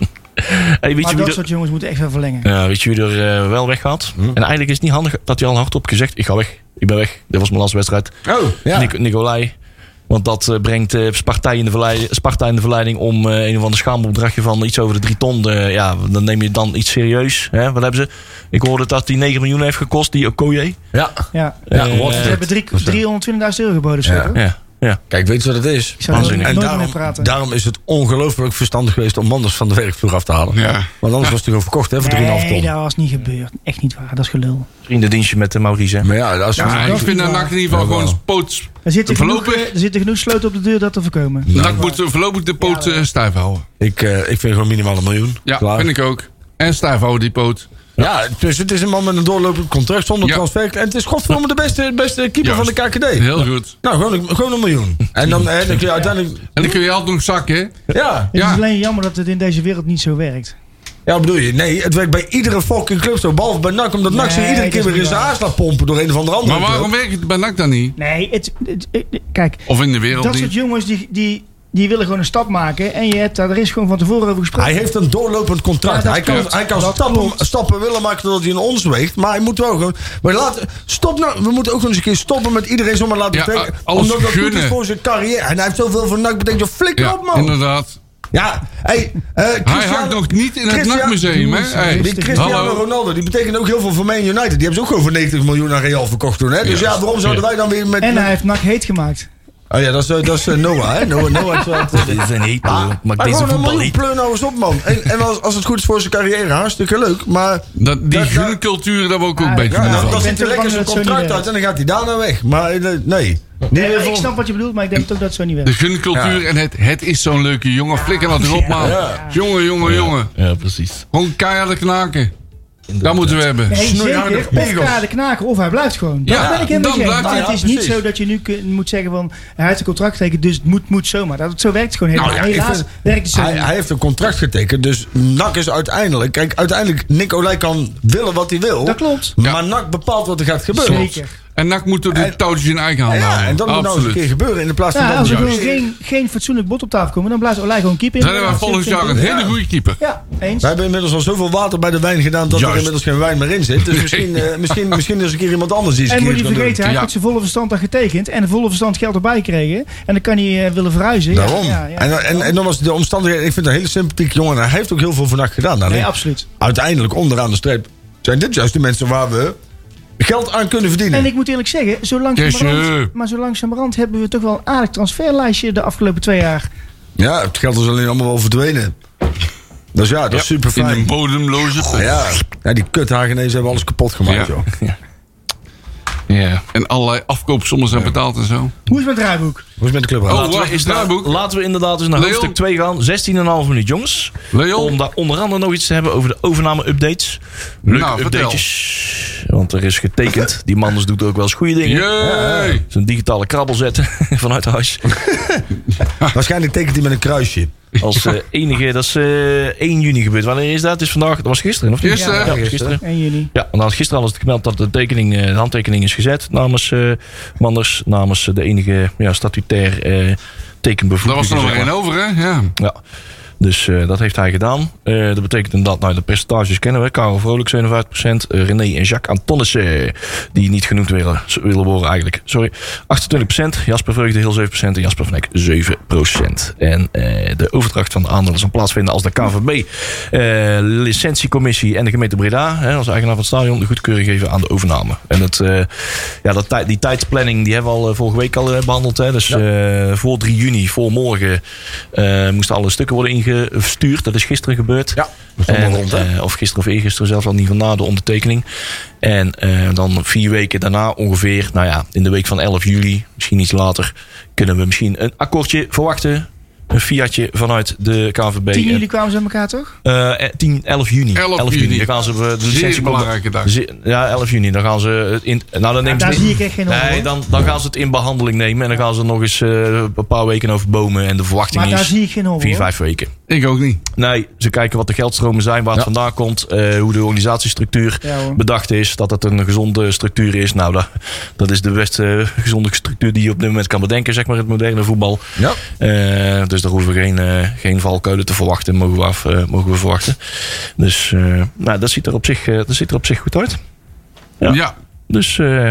C: Hey, weet,
E: maar
C: je
E: dat
C: wie er,
E: soort jongens moeten echt wel verlengen.
C: ja, weet je wie er eh, wel weg gaat? En eigenlijk is het niet handig dat hij al hardop gezegd... Ik ga weg. Ik ben weg. Dit was mijn laatste wedstrijd.
B: Oh, ja.
C: Nic- Nicolai. Want dat eh, brengt eh, Sparta, in de verleiding, Sparta in de verleiding om eh, een of ander schaamopdrachtje van iets over de drie ton. eh, ja, dan neem je dan iets serieus. Hè? Wat hebben ze? Ik hoorde dat die 9 miljoen heeft gekost, die Okoye.
B: ja.
E: Ja.
C: Ja,
E: Eh,
C: wat-
E: ze hebben drie- 320.000 euro geboden.
B: Ja.
E: Ja.
C: Ja, ja.
B: Kijk, weet je wat het is?
E: Ik zou er
C: Waanzinnig.
E: nooit
B: En
E: meer
B: daarom,
E: mee praten.
B: daarom is het ongelooflijk verstandig geweest om Manders van de werkvloer af te halen.
D: Ja.
B: Want anders was hij gewoon verkocht hè, voor 3,5
E: nee,
B: ton.
E: dat was niet gebeurd. Echt niet waar. Dat is gelul.
C: Vriendendienstje met de Maurice. hè.
B: Maar ja, als
D: Ja, Ah, ik
E: dat
D: vind
E: is
D: dat
E: waar.
D: NAC in ieder geval
B: Ja,
D: gewoon
B: wel.
D: zijn poot...
E: Er zitten genoeg,
D: Voorlopig-
E: eh, er zitten genoeg sloten op de deur dat te voorkomen.
D: NAC moet voorlopig de poot eh, stijf houden.
B: ik, eh, ik vind gewoon minimaal een miljoen.
D: Ja,
B: Klaar.
D: vind ik ook. En stijf houden die poot.
B: Ja, dus het is een man met een doorlopend contract zonder
D: Ja.
B: transfer. En het is godverdomme de beste, beste keeper van de KKD.
D: Heel goed.
B: Nou, gewoon een, gewoon een miljoen. En dan, eh, dan kun je uiteindelijk...
D: En dan kun je altijd nog zakken, hè?
B: Ja.
E: Het
D: Ja.
E: is alleen jammer dat het in deze wereld niet zo werkt.
B: ja, wat bedoel je? Nee, het werkt bij iedere fucking club zo. Behalve bij NAC, omdat NAC zich
E: Nee,
B: iedere
E: dat
B: keer
E: is
B: weer in
E: niet
B: zijn
E: waar.
B: aars laat pompen door een of andere andere
D: Maar waarom werkt het bij NAC dan niet?
E: Nee, het, het- het- kijk,
D: Of in de wereld
E: dat
D: niet?
E: soort jongens die, die, die willen gewoon een stap maken. En je hebt daar, er is gewoon van tevoren over
B: club?
E: gesproken.
B: Hij heeft een doorlopend contract.
E: Ja, dat
B: hij kan,
E: klopt.
B: hij kan
E: Dat
B: stappen,
E: klopt.
B: stappen willen maken totdat hij een ons weegt. Maar hij moet wel gewoon... Maar laat, stop nou, we moeten ook nog eens een keer stoppen met iedereen zomaar laten
D: Ja,
B: trekken.
D: a- alles
B: omdat dat goed is
D: gunnen.
B: voor zijn carrière. En hij heeft zoveel voor NAC betekent. joh, Flikker op,
D: Ja,
B: man.
D: inderdaad.
B: Ja, hey, eh,
D: Hij
B: Cristiano-
D: hangt nog niet in het
B: Christian-
D: NAC-museum, hè?
B: Die
D: Hey.
B: Cristiano
D: Hallo.
B: Ronaldo, die betekent ook heel veel voor Man United. Die hebben ze ook gewoon voor 90 miljoen aan Real verkocht toen. Hè? Dus ja, waarom zouden wij dan weer met...
E: En hij heeft NAC heet gemaakt.
B: Oh ja, dat is, eh, dat is eh, Noah, hè? Noah, Noah is wel-
C: Dit is een heet,
D: Ah,
C: hoor.
B: Maar
C: Maak deze
B: gewoon een
C: voetbal
B: miljoen,
C: niet.
B: pleur nou eens op, man. En, en als, als het goed is voor zijn carrière, hartstikke leuk. Maar
D: Dat, die
B: Dat- dat-
D: guncultuur, daar word ik ook
E: Ja,
D: een beetje
B: ja,
E: Nou,
D: moe
B: dan,
E: ik
D: van.
B: dan
E: ben
B: zit er
E: toch
B: lekker
E: bang
B: zijn
E: dat het zo
B: contract
E: niet eh,
B: uit en dan gaat hij daarna weg. Maar eh, nee.
E: Nee, ik snap wat je bedoelt, maar ik denk ook dat het zo niet
D: De
E: werkt.
D: guncultuur en het, het is zo'n leuke jongen. Flikker dat erop, man. Jongen, jongen, jongen.
C: Ja, precies.
D: Gewoon keiharde knaken. Dat moeten we hebben.
E: Nee,
B: Snoeiharde
E: zeker. Of
B: pegels.
E: kale knaken, of hij blijft gewoon. Daar
D: Ja,
E: ben ik helemaal
D: dan
E: mee eens.
D: blijft
E: Maar
D: hij.
E: het is
B: Ja,
E: niet
B: precies.
E: zo dat je nu kun- moet zeggen van... Hij heeft een contract getekend, dus het moet, moet zomaar. Dat, zo werkt het gewoon helemaal.
B: Nou ja, ik
E: Helaas
B: vind-
E: werkt het zo
B: Hij,
E: niet.
B: hij heeft een contract getekend, dus NAC is uiteindelijk... Kijk, uiteindelijk, Nicolai kan willen wat hij wil.
E: Dat klopt.
B: Maar
D: Ja.
B: NAC bepaalt wat er gaat gebeuren.
E: Zeker.
D: En NAC moet door de touwtjes in eigen handen
B: Eh, Ja, en
D: houden.
B: dat moet nou eens een
D: Absoluut.
B: keer gebeuren in de plaats van
E: Ja,
B: dat dus-
E: als er
B: het
E: gewoon
B: juist-
E: geen, geen fatsoenlijk bot op tafel komen, dan blijft Olij gewoon keeper.
D: Dan hebben we volgend jaar een hele goede keeper.
E: Ja, eens.
B: We hebben inmiddels al zoveel water bij de wijn gedaan dat er
D: Juist.
B: inmiddels geen wijn meer in zit. Dus misschien, eh, misschien, misschien is er een keer iemand anders die eens
E: En
B: een
E: moet
B: keer
E: je
B: kan doen.
E: vergeten, hij
D: Ja.
E: heeft met zijn volle verstand daar getekend. En de volle verstand geld erbij gekregen. En dan kan hij eh, willen verhuizen. Ja,
B: Daarom.
E: Ja, ja.
B: En, en, en dan was de omstandigheden. Ik vind het een hele sympathieke jongen. En hij heeft ook heel veel vannacht gedaan. Nou,
E: Nee,
B: nee,
E: absoluut.
B: uiteindelijk, onderaan de streep, zijn dit juist de mensen waar we geld aan kunnen verdienen.
E: En ik moet eerlijk zeggen, zo
D: Yes,
E: langzamerhand, maar zo langzamerhand hebben we toch wel een aardig transferlijstje de afgelopen twee jaar.
B: Ja, het geld is alleen allemaal wel verdwenen. Dus ja, dat is super
D: In een
B: fijn.
D: bodemloze grond.
B: Ja. ja, die kuthagenezen hebben alles kapot gemaakt.
D: Ja.
B: joh.
D: Ja. En allerlei afkoopsommen zijn betaald en zo.
E: Hoe is het met draaiboek?
B: Hoe is het met de club?
D: Oh,
B: Raad?
D: wat
C: Nou,
D: is draaiboek?
C: Laten we inderdaad eens naar
D: Leon.
C: hoofdstuk 2 gaan. 16,5 minuut, jongens. Om
D: Leon?
C: daar onder andere nog iets te hebben over de overname-updates. Leuke
D: Nou, vertel.
C: updates. Want er is getekend. Die Manders doet ook wel eens goede dingen.
D: Jee!
C: Zo'n digitale krabbel zetten vanuit huis.
B: Waarschijnlijk tekent hij met een kruisje.
C: Als eh, enige, dat is eh, 1 juni gebeurd. Wanneer is dat? Het is vandaag, dat was gisteren, of niet?
D: Gisteren.
C: Ja, dat was gisteren.
E: 1 juni.
C: Ja, want gisteren hadden ze gemeld dat de, tekening, eh, de handtekening is gezet namens eh, Manders. Namens eh, de enige ja, statutair eh
D: Daar
C: tekenbevoegde.
D: was er nog maar
C: zeg
D: één
C: maar.
D: over, hè? Ja.
C: Ja. Dus eh, dat heeft hij gedaan. Eh, dat betekent inderdaad, nou, de percentages kennen we. Karel Vrolijk 57%. eh, René en Jacques Antonissen, die niet genoemd willen, willen worden eigenlijk. Sorry. 28%. Jasper Vreugde heel 7%. En Jasper Van Eck 7%. En eh, de overdracht van de aandelen zal plaatsvinden als de KVB, eh, licentiecommissie en de gemeente Breda, hè, als eigenaar van het stadion, de goedkeuring geven aan de overname. En het, eh, ja, dat, tij- die tijdsplanning die hebben we al eh, vorige week al eh, behandeld. Hè, dus eh, voor 3 juni, voor morgen, eh, moesten alle stukken worden ingestuurd. Dat is gisteren gebeurd.
B: Ja, dat is allemaal
C: En,
B: rond, hè?
C: eh, of gisteren of eergisteren zelfs al niet van na de ondertekening. En eh, dan vier weken daarna ongeveer, nou ja, in de week van 11 juli, misschien iets later, kunnen we misschien een akkoordje verwachten. Een Fiatje vanuit de KVB.
E: 10 juli kwamen ze aan elkaar, toch?
C: Eh, eh, 10, 11 juni.
D: 11 juni.
C: Dan gaan ze eh, de
D: Zeer
C: licentie
D: belangrijke dag.
C: Ze- Ja, 11 juni. Dan gaan ze het in. Nou, dan nemen
E: Ah, daar
C: ze
E: zie ik echt geen over,
C: Nee,
E: hoor.
C: dan, dan gaan ze het in behandeling nemen. En dan gaan ze nog eens eh, een paar weken over bomen. En de verwachting
E: Maar daar
C: is
E: zie ik geen over.
C: 4,
E: hoor.
C: 5 weken.
D: Ik ook niet.
C: Nee, ze kijken wat de geldstromen zijn, waar het vandaan komt, eh, hoe de organisatiestructuur
E: Ja, hoor.
C: bedacht is, dat het een gezonde structuur is. Nou, dat, dat is de beste eh, gezonde structuur die je op dit moment kan bedenken, zeg maar, het moderne voetbal.
B: Ja.
C: Eh, dus daar hoeven we geen, eh, geen valkuilen te verwachten, mogen we, af, eh, mogen we verwachten. Dus eh, nou, dat, ziet er op zich, eh, dat ziet er op zich goed uit. Ja.
D: Ja.
C: Dus, eh,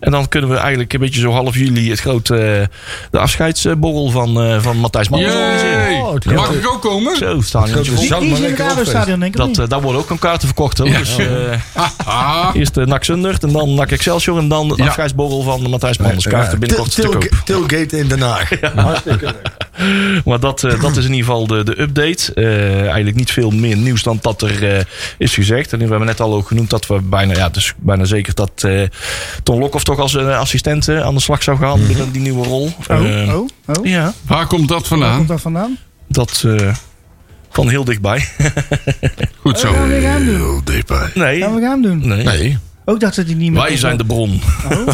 C: en dan kunnen we eigenlijk een beetje zo half juli het grote, eh, de afscheidsborrel van, eh, van Matthijs Manders organiseren.
D: Yay.
B: Oh, het
D: Mag
B: grote-
D: ik ook komen?
C: Zo, staan
B: grote
C: we
E: Die,
B: Zou
E: die
B: maar
E: is in het
B: lekker
E: Rabo Stadion, denk ik. of
C: dat,
E: niet?
C: eh, daar worden ook aan kaarten verkocht. Hoor. Dus, eh,
D: Ah,
C: eerst de NAC Zundert en dan NAC Excelsior. En dan de
D: Ja.
C: afscheidsborrel van Matthijs Manders. Kaarten binnenkort te
B: Til-
C: koop.
B: Til- Tilgate in Den Haag. Hartstikke leuk.
C: Maar dat, eh, dat is in ieder geval de, de update. Eh, eigenlijk niet veel meer nieuws dan dat er eh, is gezegd. En we hebben net al ook genoemd dat we bijna, ja, dus bijna zeker dat eh Ton Lokhoff toch als eh, assistent eh, aan de slag zou gaan binnen die nieuwe rol. Eh,
E: Oh, oh, oh.
C: Ja,
D: waar komt dat
E: Waar
D: vandaan?
E: komt dat vandaan?
C: dat eh, van heel dichtbij.
D: Goed zo.
E: Gaan we weer
C: eh,
E: aan doen?
B: Heel dichtbij.
C: Nee.
E: Gaan we gaan doen?
C: Nee.
B: Nee.
E: Ook dat het die niet meer...
C: nou. Wij zijn de bron.
E: Oh.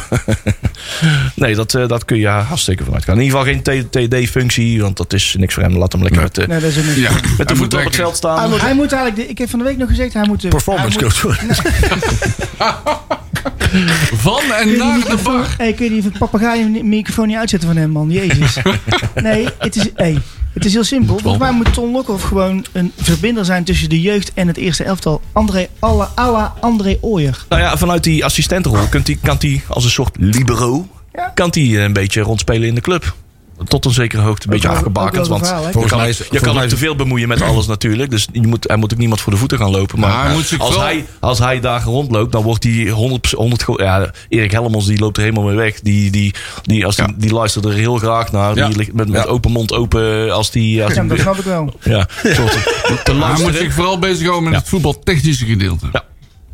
C: nee, dat, eh, dat kun je hartstikke vanuit gaan. In ieder geval geen TD-functie, want dat is niks voor hem. Laat hem lekker met, eh,
E: Nee, dat is ook niet.
D: Ja,
C: met de voeten op het veld
E: Hij
C: staan.
E: moet, hij moet eigenlijk... de- ik heb van de week nog gezegd, hij moet... de-
B: Performance
E: hij moet-
B: coach worden.
D: Van en
E: Kun je,
D: naar
E: die
D: de bar.
E: microfoon, hey, kun je die papagaaien-microfoon niet uitzetten van hem, man? Jezus. nee, het is, hey, het is heel simpel. Volgens mij moet Ton Lokhoff gewoon een verbinder zijn tussen de jeugd en het eerste elftal. André, alla, alla André Ooyer.
C: Nou ja, vanuit die assistentenrol kunt die, kan hij als een soort libero...
E: Ja.
C: kan hij een beetje rondspelen in de club. Tot een zekere hoogte, een beetje
E: wel- ook wel
C: afgebakend.
E: een
C: Want
E: verhaal, hè?
C: je
B: Volgens
C: kan,
B: mij is-
C: je
B: volgens
C: kan
B: mij
C: ook
B: is-
C: te veel bemoeien met alles natuurlijk. Dus je moet, hij moet ook niemand voor de voeten gaan lopen. Maar
D: Ja, hij moet zich
C: als,
D: wel-
C: hij, als hij daar rondloopt, dan wordt hij 100... 100 ge- ja, Erik Helmons die loopt er helemaal mee weg. Die, die, die, als die,
D: Ja.
C: die luistert er heel graag naar.
B: Ja.
C: Die ligt met, met
B: Ja.
C: open mond open als die... Als
E: Ja,
C: die-
E: dat snap ik wel.
C: ja, soort te
D: Maar Hij moet
C: luisteren.
D: zich vooral bezighouden met
C: Ja.
D: het voetbaltechnische gedeelte.
C: Ja.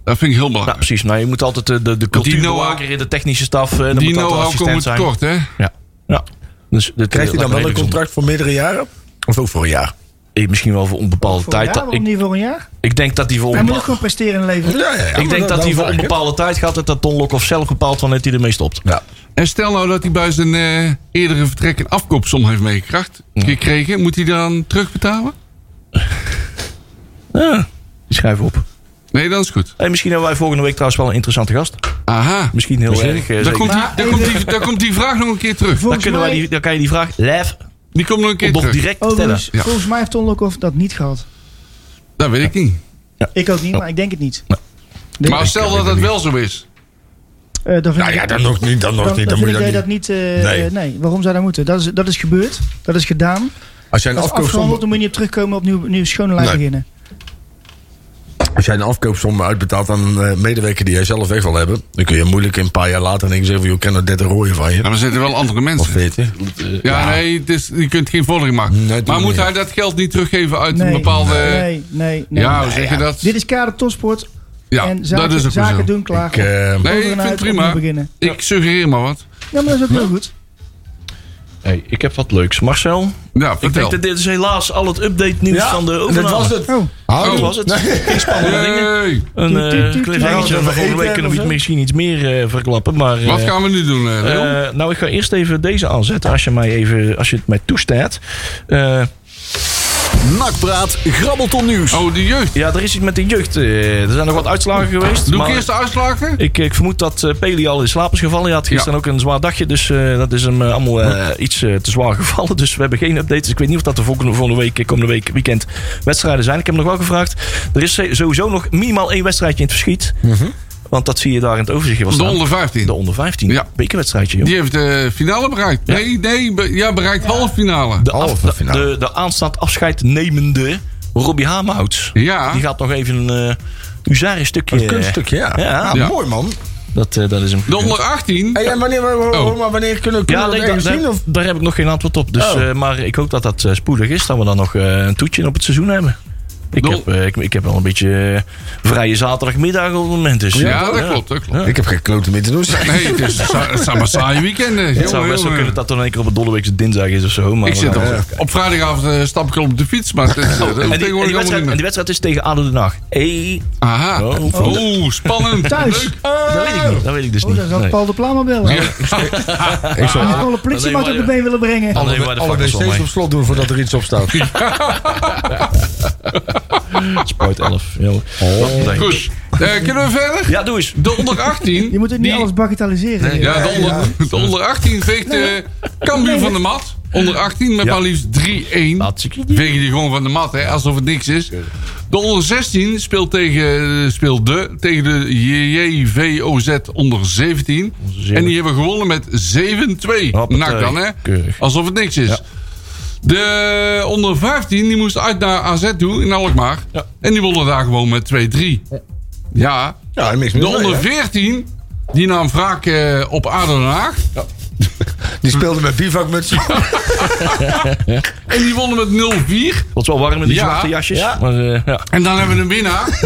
D: Dat vind ik heel
C: Nou,
D: belangrijk.
C: precies. Nou, je moet altijd de, de, de
D: know-how-
C: cultuurbewaker in de technische staf. eh, Dan
D: die
C: moet altijd
D: know-how
C: assistent
D: komt
C: zijn.
D: tekort, hè?
C: Ja. ja. Dus dit-
B: Krijgt hij
C: laat
B: dan
C: maar
B: wel een
C: even
B: contract voor meerdere jaren? Of ook voor een jaar?
C: zonder- Eh, Misschien wel voor onbepaalde
E: Voor een
C: tijd.
E: jaar,
C: Dat-
E: waarom
C: ik,
E: niet voor een jaar?
C: ik denk dat hij voor
E: Hij moet ook
C: onbepa-
E: gewoon presteren in het leven.
B: Ja, ja, ja,
C: ik
B: maar
C: denk dat
B: dan
C: hij voor
B: vraag ik, hè?
C: onbepaalde tijd gaat. En dat Ton Lokhoff zelf bepaalt wanneer hij ermee stopt.
B: Ja.
D: En stel nou dat hij bij zijn eh, eerdere vertrek een afkoopsom heeft meegekracht, gekregen. Moet hij dan terugbetalen?
C: Ja, die schrijven op.
D: Nee, dat is goed.
C: En misschien hebben wij volgende week trouwens wel een interessante gast.
D: Aha.
C: Misschien heel
B: Misschien.
C: erg. eh,
D: Daar
C: zeker.
D: komt, die,
E: Maar
D: daar,
E: even-
D: komt die, daar komt die vraag nog een keer terug.
C: dan,
E: Volgens
C: kunnen wij
E: mij- Oh,
C: die, dan kan je die vraag live
D: Die komt nog een keer
C: nog
D: terug.
C: direct stellen.
E: Overigens, volgens mij heeft Ton Lokhoff dat niet gehad.
D: Dat weet ik niet.
E: Ik ook niet,
B: Oh.
E: maar ik denk het niet.
D: Maar stel dat dat wel zo is.
E: Eh, dan vind
B: Nou
E: ik-
B: ja, dan nog niet. Dan nog
E: dan-
B: niet.
E: dan
B: Dan moet
E: vind
B: je
E: ik
B: dat
E: dat,
B: niet.
E: niet... eh,
B: Nee.
E: eh, nee, waarom zou dat moeten? Dat is, dat is gebeurd. Dat is gedaan.
B: Als jij een
E: Dat is
B: afkoopsom
E: afgehandeld, dan moet je niet op terugkomen opnieuw, opnieuw schone lijn
B: Nee.
E: beginnen.
B: Als jij een afkoopsom uitbetaalt aan een eh, medewerker die jij zelf weg wil hebben, dan kun je moeilijk een paar jaar later denken zeggen van, joh, ik ken er 30 rooien van je.
D: Ja, maar er zitten wel andere
B: Of
D: mensen.
B: 40.
D: Ja, nee, het is, je kunt geen vordering maken.
B: Nee, doe
D: maar moet
B: niet.
D: hij dat geld niet teruggeven uit
E: Nee,
D: een bepaalde...
E: Nee, nee, nee.
D: ja, hoe zeg je dat?
E: Dit is kader topsport.
D: Ja,
E: en zaken,
D: dat is ook weer zo.
E: zaken doen klaar.
B: Ik, eh,
D: Nee,
E: Over
D: ik
E: en
D: vind
E: uit,
D: het prima.
E: opnieuw beginnen.
D: Ik suggereer maar wat.
E: Ja, maar dat is ook heel goed.
C: Hey, ik heb wat leuks. Marcel,
D: Ja,
C: ik
D: vertel.
C: denk dat dit is helaas al het update nieuws
B: Ja,
C: van de
B: dat
C: overname.
B: was het.
E: Oh,
B: Hou.
C: Dat was het. Geen spannende dingen.
D: Hey,
C: Een
E: Tuut, tuut,
C: eh
E: tuut.
C: cliffhangertje.
B: Ja,
C: van
B: we
C: Volgende
B: eten
C: week kunnen we
B: of zo.
C: misschien iets meer eh, verklappen. Maar, eh,
D: Wat gaan we nu doen, eh, Leon?
C: eh, nou, ik ga eerst even deze aanzetten. Als je, mij even, als je het mij toestaat. Eh,
A: Nakpraat Grabbelton Nieuws.
D: Oh, de jeugd.
C: ja, er is iets met de jeugd. eh, er zijn nog wat uitslagen geweest.
D: Doe
C: maar
D: ik eerst de uitslagen?
C: ik, ik vermoed dat eh, Peli al in slaap is gevallen. Hij had gisteren ook een zwaar dagje. Dus eh, dat is hem eh, allemaal eh, iets eh, te zwaar gevallen. Dus we hebben geen updates. Dus ik weet niet of dat de volgende, volgende week, eh, komende week, weekend wedstrijden zijn. Ik heb hem nog wel gevraagd. Er is eh, sowieso nog minimaal één wedstrijdje in het verschiet. Want dat zie je daar in het overzichtje wel
D: Mhm. De
C: staan.
D: onder 15.
C: De onder 15.
D: Ja.
C: Bekerwedstrijdje, joh.
D: Die heeft de finale bereikt. Nee, nee, be- ja, bereikt halve finale.
C: De, af-
B: halve finale.
C: de, de aanstaand afscheidnemende Robbie Hamerhout.
D: Ja.
C: Die gaat nog even een eh huzarenstukje...
B: Een kunststukje, ja.
C: Ja.
B: Ah,
D: Ja.
B: Mooi man.
C: Dat, eh, dat is hem.
D: De onder 18.
B: Hey, en wanneer, wa- wa-
D: Oh.
B: maar wanneer kunnen, kunnen
C: Ja,
B: we
C: nee,
B: dat
C: daar,
B: ergens zien?
C: daar,
B: Of?
C: daar heb ik nog geen antwoord op. Dus,
B: Oh.
C: eh, maar ik hoop dat dat eh, spoedig is. Dat we dan nog eh, een toetje op het seizoen hebben. Ik
D: Doel-
C: heb, eh, ik, ik heb wel een beetje eh, vrije zaterdagmiddag op het moment. Dus,
D: Ja, dat klopt, dat klopt.
B: Ik heb geen klote meer te doen. zeg.
D: Nee, het, is, het zijn maar saaie weekenden.
C: Het zou
D: Jongen,
C: best wel
D: jongen.
C: kunnen dat dan een keer op een dolleweekse dinsdag is of zo. Maar eh,
D: Ik
C: we
D: zit
C: gaan-
D: op, op vrijdagavond eh, stap ik al op de fiets, maar het is, eh, dat hoeft
C: En die, en die
D: tegenwoordig allemaal
C: wedstrijd,
D: niet
C: en
D: meer.
C: die wedstrijd is tegen ADO Den Haag. Hey,
D: Aha.
C: Oh,
D: Oh, spannend.
E: Thuis.
D: Leuk.
C: dat weet ik niet. Dat weet ik dus
E: Oh,
C: niet.
E: dan zal
C: Nee.
E: Paul de Plama bellen.
D: Ja.
B: Ik zou
E: Als ik wel een politiemaat op de been willen brengen.
C: Dan nemen wij
B: alle,
C: de
B: alle
C: fakkels wel
B: wc's
C: mee.
B: op slot doen voordat er iets op staat.
C: Spuit 11. Ja, hoor. Nee.
D: Goed. Eh, kunnen we verder?
C: Ja, doe eens.
D: De onder 18.
E: Je moet het niet
D: die-
E: alles bagatelliseren.
D: Ja, de onder, de onder 18 veegt eh Cambuur van de mat. Onder 18 met maar liefst 3-1.
C: Hartstikke idee.
D: Vegen die gewoon van de mat, hè, alsof het niks is. De onder 16 speelt, tegen, eh, speelt de, tegen de JJVOZ onder 17. En die hebben gewonnen met 7-2.
C: Hoppatee.
D: Nou dan, hè?
C: Keurig.
D: Alsof het niks is. De onder 15 die moest uit naar AZ toe in Alkmaar. En die wonnen daar gewoon met 2-3. Ja.
B: Ja, niks
D: De
B: meer. mee,
D: onder
B: hè.
D: 14 die nam wraak eh, op ADO Den Haag.
B: Die speelde met bivakmuts.
D: En die wonnen met 0-4.
C: Wat wel warm in die
D: Ja.
C: zwarte jasjes. Maar, eh, ja.
D: En dan hebben we een winnaar.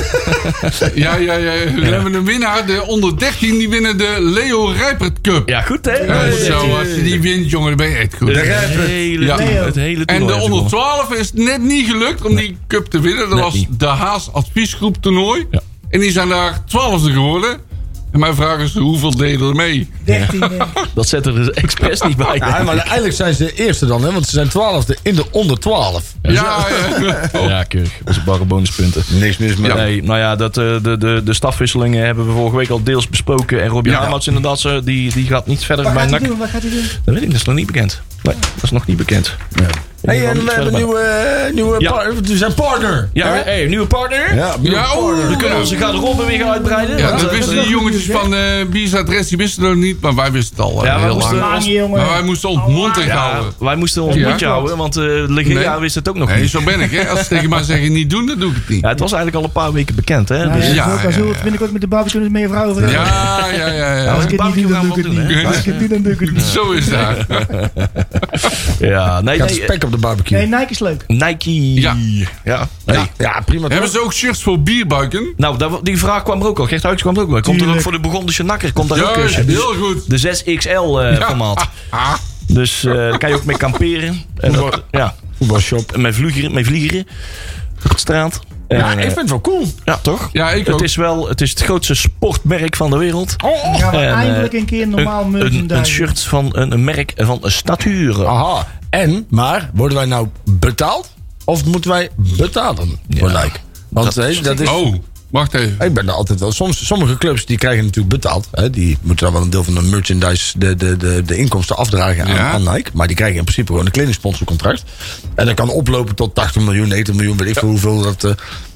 D: ja, ja, ja. Dan hebben we een winnaar. De onder 13 die winnen de Leo Rijpert Cup.
C: ja, goed hè?
D: Eh,
C: Nee,
D: zo,
C: nee,
D: als
C: nee.
D: je die wint, jongen, dan ben je echt goed.
C: Het
B: Rijpert.
C: hele
D: Ja.
C: toernooi- het hele
D: En de
C: toernooi is gewonnen.
D: onder 12 is net niet gelukt om die cup te winnen. Dat
C: Net
D: was
C: niet.
D: de Haas Adviesgroep toernooi.
C: Ja.
D: En die zijn daar 12e geworden. En mijn vraag is, hoeveel deden er mee?
E: 13. eh,
C: Dat zet er dus expres niet bij.
B: Ja, maar eigenlijk zijn ze de eerste dan, hè? want ze zijn twaalfde in de onder twaalf.
D: Ja, ja.
C: Ja, keurig. Dat is barre bonuspunten.
B: Niks mis met.
C: Nee, nou ja, dat, eh, de, de, de stafwisselingen hebben we vorige week al deels besproken. En Robbie
D: Ja.
C: Harmats inderdaad, eh, die, die gaat niet verder
E: Wat
C: bij
E: gaat hij
C: NAC.
E: doen? Wat gaat hij doen?
C: Dat weet ik, dat is nog niet bekend. Nee, dat is nog niet bekend.
B: Hey, en we hebben een nieuwe, eh, nieuwe
C: Ja.
B: par- we zijn partner.
C: Ja, hey, nieuwe partner.
B: Ja, nieuwe
D: Ja, oeh.
B: partner.
C: We kunnen onze garderobe weer gaan uitbreiden.
D: Ja,
C: Want,
D: dat
C: eh,
D: wisten die jongetjes van eh Bier's adres, die wisten het nog niet, maar wij wisten het al eh,
C: Ja, wij
D: heel
C: moesten-
D: lang.
E: Lang, jongen.
D: Maar wij moesten ons mond dicht
C: ja,
D: houden.
C: wij moesten ons
D: Ja.
C: mondje houden, want eh Legea
D: Nee.
C: wist het ook nog
D: Nee,
C: niet.
D: zo ben ik, hè. Als ze tegen mij zeggen niet doen, dan doe ik het niet.
C: Ja, het was eigenlijk al een paar weken bekend, hè?
E: Nou,
C: Dus-
E: ja,
D: Ja,
E: zo-
D: ja,
E: zo
D: ja.
E: binnenkort met de barbecue dus met je vrouw over hebben.
D: Ja, ja, ja, ja.
E: Als ik het niet doe, dan doe ik het
C: hè?
E: niet. Als ik het niet, dan doe ik het niet.
D: Zo is dat.
C: Ja, nee,
B: Gaat
C: nee,
B: spek op de barbecue.
E: Nee, Nike is leuk.
C: eh, Nike.
D: Ja.
C: ja.
B: Ja, ja, prima. toch?
D: Hebben ze ook shirts voor bierbuiken?
C: Nou, daar- die vraag kwam er ook al. Gert Huygens kwam er ook al. Komt er ook
E: Tuurlijk.
C: voor de Burgondische nakker? Komt daar ook
D: Juist,
C: eh,
D: heel goed.
C: de 6XL-formaat.
D: Ah,
C: eh, Dus eh, daar kan je ook mee kamperen. En dat, ja,
B: Voetbalshop.
C: met vliegeren, met vliegeren op straat. En,
B: Ja, ik
C: eh,
B: vind het wel cool.
C: ja, toch?
D: Ja, ik ook.
C: het is wel het, is het grootste sportmerk van de wereld.
B: Oh,
E: Dan gaan we
C: En, eh,
E: Nou, eindelijk een keer normaal
C: een, een, een
E: merchandise.
C: shirt van een, een merk van staturen.
B: Aha. En, maar, worden wij nou betaald? Of moeten wij betalen voor
C: Ja.
B: Nike? Want dat, dat is...
D: Oh, wacht even.
B: Ik ben er altijd wel. Soms, sommige clubs die krijgen natuurlijk betaald. Hè, die moeten dan wel een deel van de merchandise, de, de, de, de inkomsten afdragen aan,
D: Ja.
B: aan Nike. Maar die krijgen in principe gewoon een kleding-sponsorcontract. En dat kan oplopen tot 80 miljoen, 90 miljoen, weet ik veel hoeveel. Dat, eh,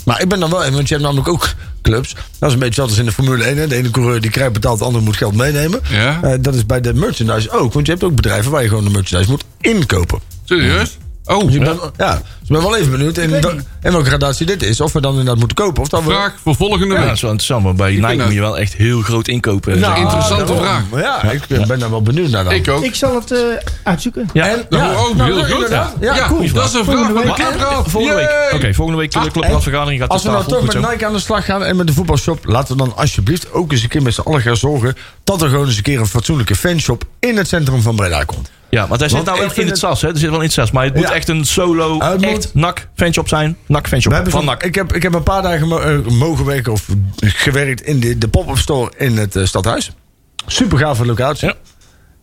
B: maar ik ben dan wel even, want je hebt namelijk ook clubs. Dat is een beetje altijd in de Formule 1. Hè. De ene coureur die krijgt betaald, de ander moet geld meenemen.
D: Ja.
B: Eh, dat is bij de merchandise ook. Want je hebt ook bedrijven waar je gewoon de merchandise moet inkopen.
D: Serieus? Oh,
B: Dus ik ben, ja, dus ik ben wel even benieuwd in,
E: weet
B: wel-
E: niet.
B: in welke gradatie dit is. Of we dan inderdaad moeten kopen. Of dat we
D: vraag voor volgende
C: Ja, dat
D: week.
C: is wel interessant, maar bij Nike
D: vind
C: moet
D: dat-
C: je wel echt heel groot inkopen.
B: Nou,
D: Interessante
B: daarom.
D: vraag.
B: Maar ja, ik eh, ben daar wel benieuwd naar. Dan.
D: Ik ook.
E: Ik zal het eh, uitzoeken.
C: ja.
D: Dat
B: Ja.
D: hoor ik ook
B: Nou,
D: heel
B: dat
D: goed.
B: inderdaad. Ja, cool.
D: dat is een vraag
E: Volgende
D: voor de
E: week.
D: clubraad.
C: Volgende week.
D: Yay!
C: Oké, volgende week de
B: Ah,
C: clubraadvergadering gaat
B: Als we
C: de
B: nou
C: tafel.
B: toch
C: goed
B: met
C: zo.
B: Nike aan de slag gaan en met de voetbalshop, laten we dan alsjeblieft ook eens een keer met z'n allen gaan zorgen dat er gewoon eens een keer een fatsoenlijke fanshop in het centrum van Breda komt.
C: Ja, want hij zit
B: Want
C: nou
B: ik
C: wel in
B: vind
C: het
B: het-
C: sas, hè? Er zit wel in het sas. Maar het moet
B: Ja.
C: echt een solo,
B: Ah, het moet-
C: echt nak fanshop zijn. Nak
B: We
C: fanshop
B: hebben
C: van
B: van-
C: nak.
B: ik, heb, ik heb een paar dagen mo- eh, mogen werken of gewerkt in de, de pop-up store in het eh, stadhuis. Super gave locatie.
C: Ja.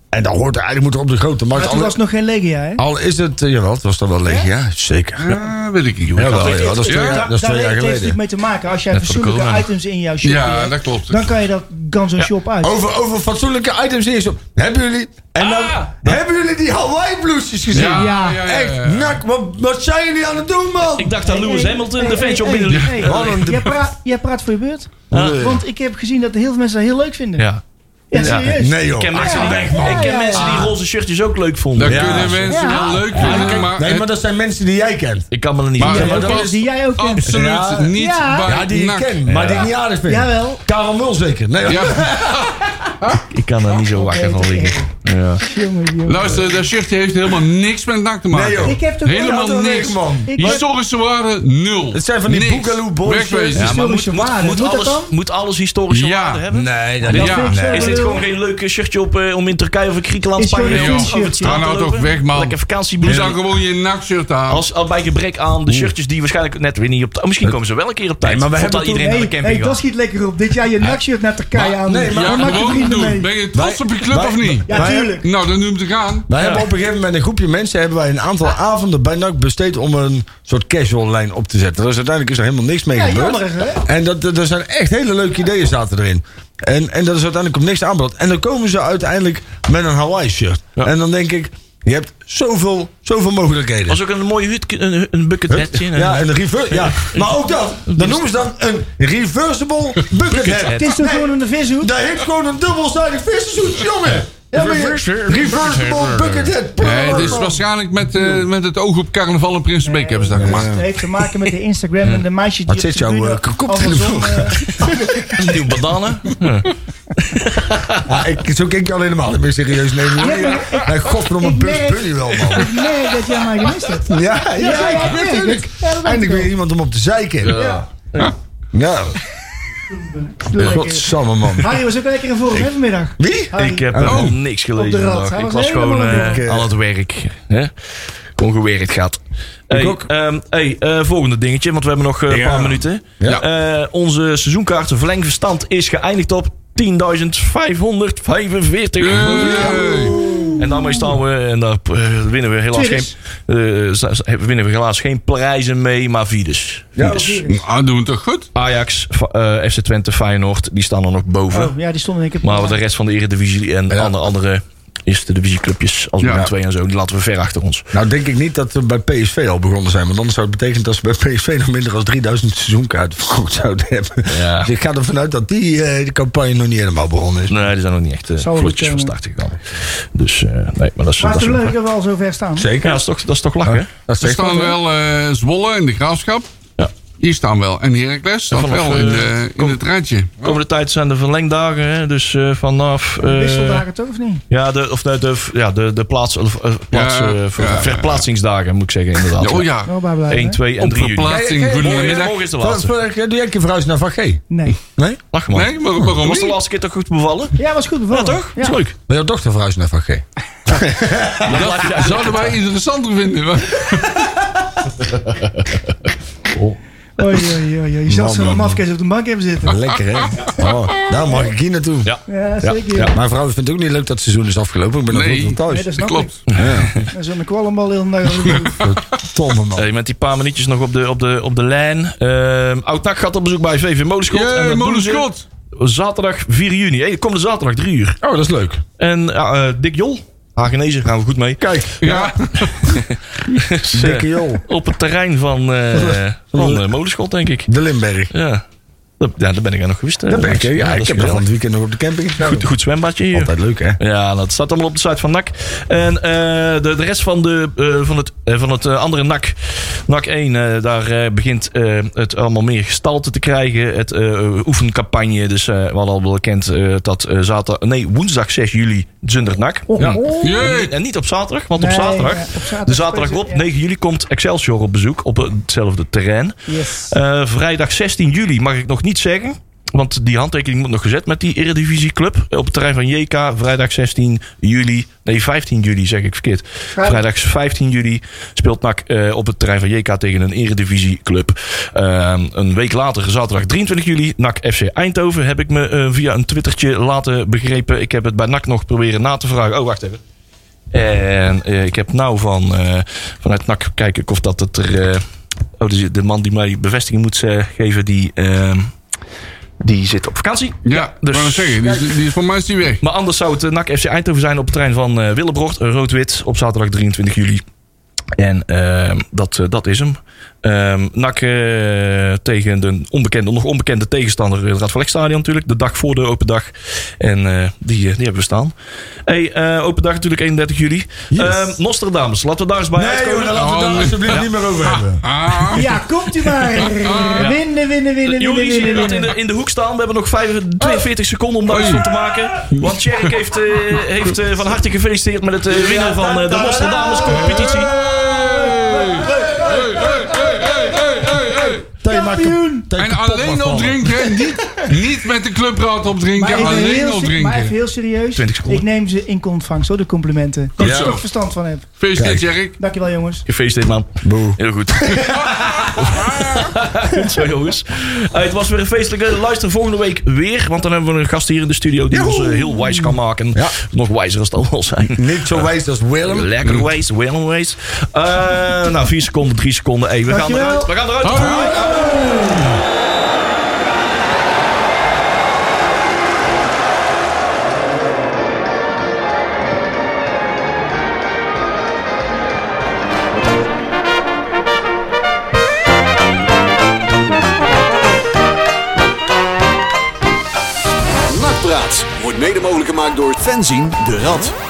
B: En dan hoort er eigenlijk moet er op de grote markt.
E: Maar
B: Al,
E: toen was nog geen Legia, hè?
B: al is het, eh, jawel, het was dan wel leeg, ja, zeker. Ja.
D: Ah, weet ik niet hoe
B: Jawel,
D: het
B: ja, dat is twee
D: Ja,
B: jaar, dat is
E: Daar
B: twee
E: heeft het
B: jaar
E: natuurlijk
B: geleden.
E: mee te maken. Als jij
C: Net voor de
E: fatsoenlijke
C: corona.
E: items in jouw
D: gaat.
E: shop
D: Ja,
E: hebt,
D: dat klopt.
E: dan kan je dat kan zo'n shop uit.
B: Over, over fatsoenlijke items in je shop. Hebben jullie, en dan, hebben jullie die Hawaii blouses gezien?
D: Ja, ja,
E: Ja.
D: ja, ja.
B: Echt, nak, wat, wat zijn jullie aan het doen, man?
C: Ik dacht aan
E: Hey,
C: Lewis
E: hey,
C: Hamilton,
E: hey,
C: de
E: hey,
C: fanshop
E: hey,
C: binnen de...
E: hey,
B: Wat een
E: Jij, praat, jij praat voor je beurt. Ah, Want ik heb gezien dat heel veel mensen dat heel leuk vinden.
B: Oh.
C: Ja.
E: Ja, serieus.
B: Nee, joh.
C: Ik ken, mensen, die,
E: ja,
C: ik ken
E: ja.
C: mensen die roze shirtjes ook leuk vonden.
D: Dat
C: Ja.
D: kunnen mensen
E: Ja.
D: wel leuk vinden, maar...
B: Nee, maar dat zijn mensen die jij kent.
C: Ik kan me er niet
D: Maar-
C: Ja,
B: maar
E: Ja,
B: dat-
E: die jij ook kent.
D: Absoluut
B: Ja.
D: niet
E: Ja.
D: bij
B: Ja, die ik
D: NAC.
B: ken, maar die ik niet aardig vind.
E: Jawel.
B: Karel Mul zeker. Nee,
D: Ja.
C: Ik kan er niet zo wakker van liggen. Ja.
E: Jongen, jongen.
D: Luister, dat shirtje heeft helemaal niks met NAC te maken.
B: Nee, joh.
E: Ik heb toch
D: Helemaal
E: wel-
D: niks.
B: man.
E: Ik-
D: Historische waarde, nul.
B: Het zijn van die
D: Niks.
B: Boogaloo Boys
D: Wegwezen.
E: Ja, maar- Historische waarde. Moet dat
C: alles,
E: dan?
C: moet alles historische
D: Ja.
C: waarde hebben?
B: Nee, dat
D: Ja.
B: is
D: Ja.
B: niet.
E: Nee.
C: Is dit gewoon geen leuk shirtje op, eh, om in Turkije of in Griekenland,
E: Is
C: Spanje
E: gewoon
D: een
C: of
D: goed
C: over het
E: shirtje.
C: straat
D: Ga
C: te
D: nou
C: lopen?
D: toch weg, man.
C: Lekker
D: Doe
C: vakantieblouse
D: dan
C: aan.
D: gewoon je nakshirt aan.
C: Als, als bij gebrek aan de shirtjes die waarschijnlijk net weer niet op tijd... Misschien komen ze wel een keer op tijd.
B: Nee, maar we
C: Voordat
B: hebben
C: iedereen
E: Hey,
C: naar de camping
E: hey,
C: gaat.
E: dat schiet lekker op. Dit jaar je nakshirt naar Turkije aan.
B: nee, maar-
E: Dan
D: ja,
E: maak je
D: gewoon
E: vrienden
D: doen.
E: mee.
D: Ben je trots
B: Wij-
D: op je club
B: wij-
D: of niet?
E: Ja,
B: Wij-
E: tuurlijk.
D: Nou, dan noem het gaan.
B: Wij hebben op een gegeven moment een groepje mensen hebben wij een aantal
E: Ah.
B: avonden bij NAC besteed om een soort casual lijn op te zetten. Dus uiteindelijk is er helemaal niks mee
E: Ja,
B: gebeurd.
E: jammerig, hè?
B: En dat, dat- er zijn echt hele leuke ideeën zaten erin. En, en dat is uiteindelijk op niks aanbod. En dan komen ze uiteindelijk met een Hawaii shirt. En dan denk ik, je hebt zoveel, zoveel mogelijkheden.
C: was ook een mooie hut, een, een bucketnetje. en-
B: Ja, en een reverse. Ja. Maar ook dat, dat noemen ze dan een reversible bucket hat.
E: Het is toch gewoon een vishoed?
B: Daar heeft gewoon een dubbelzijdig vissenzoet, jongen. Ja, maar je- reversible bucket hat.
D: Nee, dit is waarschijnlijk met, eh, met het oog op carnaval en Prinsenbeek hebben ze dat gemaakt.
E: Het heeft te maken met de Instagram en de meisjes die
B: Wat
E: op
B: zit
E: de
B: jouw,
E: bühne
B: eh, kop
E: allemaal
B: in de
E: zongen.
C: Een nieuw bananen.
B: Ah, ik, zo keek je al helemaal. Ik ben serieus. Nee, nee, nee. nee godverdomme, een
E: Ik
B: bus
E: merk-
B: bul je wel, man.
E: Ik merk eh, dat jij mij gemist hebt.
B: Ja, ja,
E: ja,
B: ja,
E: ja,
B: natuurlijk.
E: ja, dat weet
B: Eindelijk
E: ik
B: weer
E: wel.
B: iemand om op te zeiken. Ja. Ja,
E: Lekker.
B: godsamme, man.
E: Harry was ook lekker in vorige hè, vanmiddag.
B: Wie?
E: Harry.
C: Ik heb
B: Oh.
C: helemaal niks
E: Op de
C: gelezen.
E: rand.
C: vandaag.
E: Hij
C: Ik
E: was
C: was
E: helemaal
C: gewoon
E: aan het
C: eh,
B: werk.
C: aan het werk. Hè? Gewoon gewerkt gaat. Hey,
B: ook.
C: ehm, hey, eh, volgende dingetje, want we hebben nog eh, een
B: Ja.
C: paar minuten.
B: Ja.
C: Eh, onze seizoenkaartenverlengverstand is geëindigd op 10.545.
D: Hey.
C: En daarmee staan we en daar eh, winnen we helaas geen,
E: Tweeders.
C: eh, za- za- winnen we helaas geen prijzen mee, maar vierdes.
B: dus,
C: Vierdes.
D: Nou, doen we het toch goed?
C: Ajax, Fa- eh, FC Twente, Feyenoord, die staan er nog boven.
E: Oh, ja, die stonden ik heb.
C: Maar de rest van de Eredivisie en
B: Ja.
C: andere, andere eerste divisieclubjes als
D: Ja.
C: Willem 2 en zo, die laten we ver achter ons.
B: Nou, denk ik niet dat we bij PSV al begonnen zijn. Want anders zou het betekenen dat ze bij PSV nog minder dan 3000 seizoenkaarten verkocht zouden hebben.
C: Ja.
B: Dus ik ga ervan uit dat die eh, de campagne nog niet helemaal begonnen is.
C: Nee, die zijn nog niet echt eh,
E: Zou
C: vlotjes van
E: het, eh,
C: start gekomen. Dus eh, nee, maar dat is,
E: Maar
C: dat is
E: het is
C: wel-
E: leuk dat we al zo ver staan.
C: Ja, dat is toch, dat is toch lachen. hè?
B: Dat
D: Er
B: is
D: staan wel eh, Zwolle en de Graafschap.
C: Ja.
D: Hier staan wel. En Heracles staat
C: vanaf,
D: wel in,
C: eh,
D: de, in het rijtje.
C: Komende tijd zijn de verlengdagen, hè? dus eh, vanaf... eh,
E: Wisseldagen toch of niet?
C: ja, de, of nee, de, ja, de, de plaats, of, eh, plaats,
D: Ja,
C: eh, ver-
D: ja, ja.
C: verplaatsingsdagen, moet ik zeggen, inderdaad.
D: Ja, oh ja.
E: Wel bij blijven.
C: 1, 2 en 3 juli.
D: Verplaatsing,
C: Morgen,
D: goedemiddag.
C: morgen is de
B: Wat-
C: laatste.
B: wat- Doe jij een keer verhuizen naar Van G?
E: Nee.
B: Nee?
C: Lach man.
D: Nee, maar waarom
C: Was de
D: niet?
C: laatste keer toch goed bevallen?
E: Ja, was goed
C: Ja,
E: bevallen.
C: toch? Dat is leuk.
B: Wil jouw dochter verhuizen naar Van G?
D: Dat zouden wij interessanter vinden.
E: Oei, oei, oei, oei. Je zat
B: Man,
E: zo'n
B: man, man.
E: mafkees op de bank hebben zitten.
B: Lekker, hè? Oh, daar mag ik hier naartoe.
C: Ja.
E: Ja, zeker.
C: ja.
B: Mijn vrouw vindt het ook niet leuk dat het seizoen is afgelopen. Ik ben nog
D: Nee.
B: niet
E: Nee,
B: van thuis.
E: dat
D: Dat
E: snap
D: klopt.
E: ik. En Zo'n kwallenbal heel de dag. aan de boel.
B: Tomme man.
C: Hey, met die paar minuutjes nog op de, op de, op de lijn. Ehm Oud-Nak gaat op bezoek bij VV Molenschot. En
D: Jee,
C: dat doen ze
D: Molenschot.
C: Zaterdag 4 juni. Hey, komende zaterdag 3 uur.
B: Oh, dat is leuk.
C: En ja, eh, Dick Jol. Hagenezen gaan we goed mee.
B: Kijk,
D: Ja,
C: Is, eh,
B: dikke joh.
C: op het terrein van, eh van eh, Molenschot, denk ik.
B: De Limberg.
C: Ja. Dat- Ja, daar ben ik aan nog geweest. eh,
B: Daar ben ik.
C: laatst.
B: hè? Ja,
C: dat
B: ik
C: is
B: heb er van
C: geweldig.
B: het weekend nog op de camping gestaan.
C: goed, goed zwembadje hier.
B: Altijd leuk, hè?
C: Ja, dat staat allemaal op de site van NAC. En eh, de, de rest van, de, eh, van het, eh, van het eh, andere NAC, NAC 1, eh, daar eh, begint eh, het allemaal meer gestalte te krijgen. Het eh, oefencampagne, dus eh, we hadden al bekend eh, dat eh, zaterdag, nee, woensdag 6 juli Zunder NAC. Ja.
E: Oh.
C: En,
D: jee.
C: niet- en niet op zaterdag, want op
E: Nee,
C: zaterdag, Dus-
E: ja, op zaterdag
C: de zaterdag
E: spelen
C: op
E: ze-
C: 9 juli komt Excelsior op bezoek op hetzelfde terrein.
E: Yes.
C: Eh, vrijdag 16 juli mag ik nog niet zeggen. Want die handtekening moet nog gezet met die Eredivisieclub. Op het terrein van JK. Vrijdag 16 juli. Nee, 15 juli zeg ik verkeerd. Vrijdag 15 juli speelt NAC eh, op het terrein van JK tegen een Eredivisieclub. Ehm een week later, zaterdag 23 juli. NAC FC Eindhoven heb ik me eh, via een twittertje laten begrepen. Ik heb het bij NAC nog proberen na te vragen. Oh, wacht even. En eh, ik heb nou van, eh, vanuit NAC kijken of dat het er. eh, oh, de, de man die mij bevestiging moet eh, geven, die, ehm, die zit op vakantie.
D: Ja,
C: dus-
D: dus, zeggen. Die, is- die is voor mij is die weg.
C: Maar anders zou het eh, NAC FC Eindhoven zijn op het terrein van eh Willebrocht, eh, rood-wit, op zaterdag 23 juli. En ehm, dat, eh, dat is hem. Ehm NAC eh, tegen de onbekende, nog onbekende tegenstander, eh, het Rad van Stadion natuurlijk. De dag voor de open dag. En eh, die, eh, die hebben we staan. Hey, eh, open dag natuurlijk 31 juli. Ehm, Nostradamus, laten we daar eens bij
B: Nee,
C: uitkomen.
B: joh, oh. daar laten we het daar alsjeblieft niet meer over hebben.
D: Ah,
E: Ja, komt u maar. Winnen, winnen, winnen, winnen,
C: Joris, je
E: winnen,
C: gaat in de,
E: winnen.
C: in de hoek staan. We hebben nog 45 42 seconden om daar iets van te maken. Want Tjerk heeft, eh, heeft eh, van harte gefeliciteerd met het eh, winnen van eh, de Nostradamus competitie.
D: hey, hey, hey, hey, hey, hey, hey.
B: Kampioen!
D: En alleen opdrinken, hè? niet, niet met de clubraad opdrinken,
E: Maar even,
D: alleen
E: heel, se- maar even
D: opdrinken.
E: heel serieus.
C: 20 seconden.
E: Ik neem ze in contvangst hoor, de complimenten. Daar
D: Ja.
E: ik er verstand van heb.
D: Feestje, Jerk.
E: Dankjewel jongens.
C: Gefeliciteerd, man.
B: Boe.
C: Heel goed. goed zo, jongens. Eh, het was weer een feestelijke. Luister volgende week weer. Want dan hebben we een gast hier in de studio die ons eh, heel wijs kan maken.
B: Ja.
C: Nog wijzer als het al wel zijn. Eh,
B: Niet zo wijs Mm. als Willem.
C: Lekker wijs, wel wijs. Eh, nou, vier seconden, drie seconden. Hey, we gaan
E: Dankjewel.
C: eruit. We gaan eruit.
A: Nakpraat wordt mede mogelijk gemaakt door Fenzin de Rad.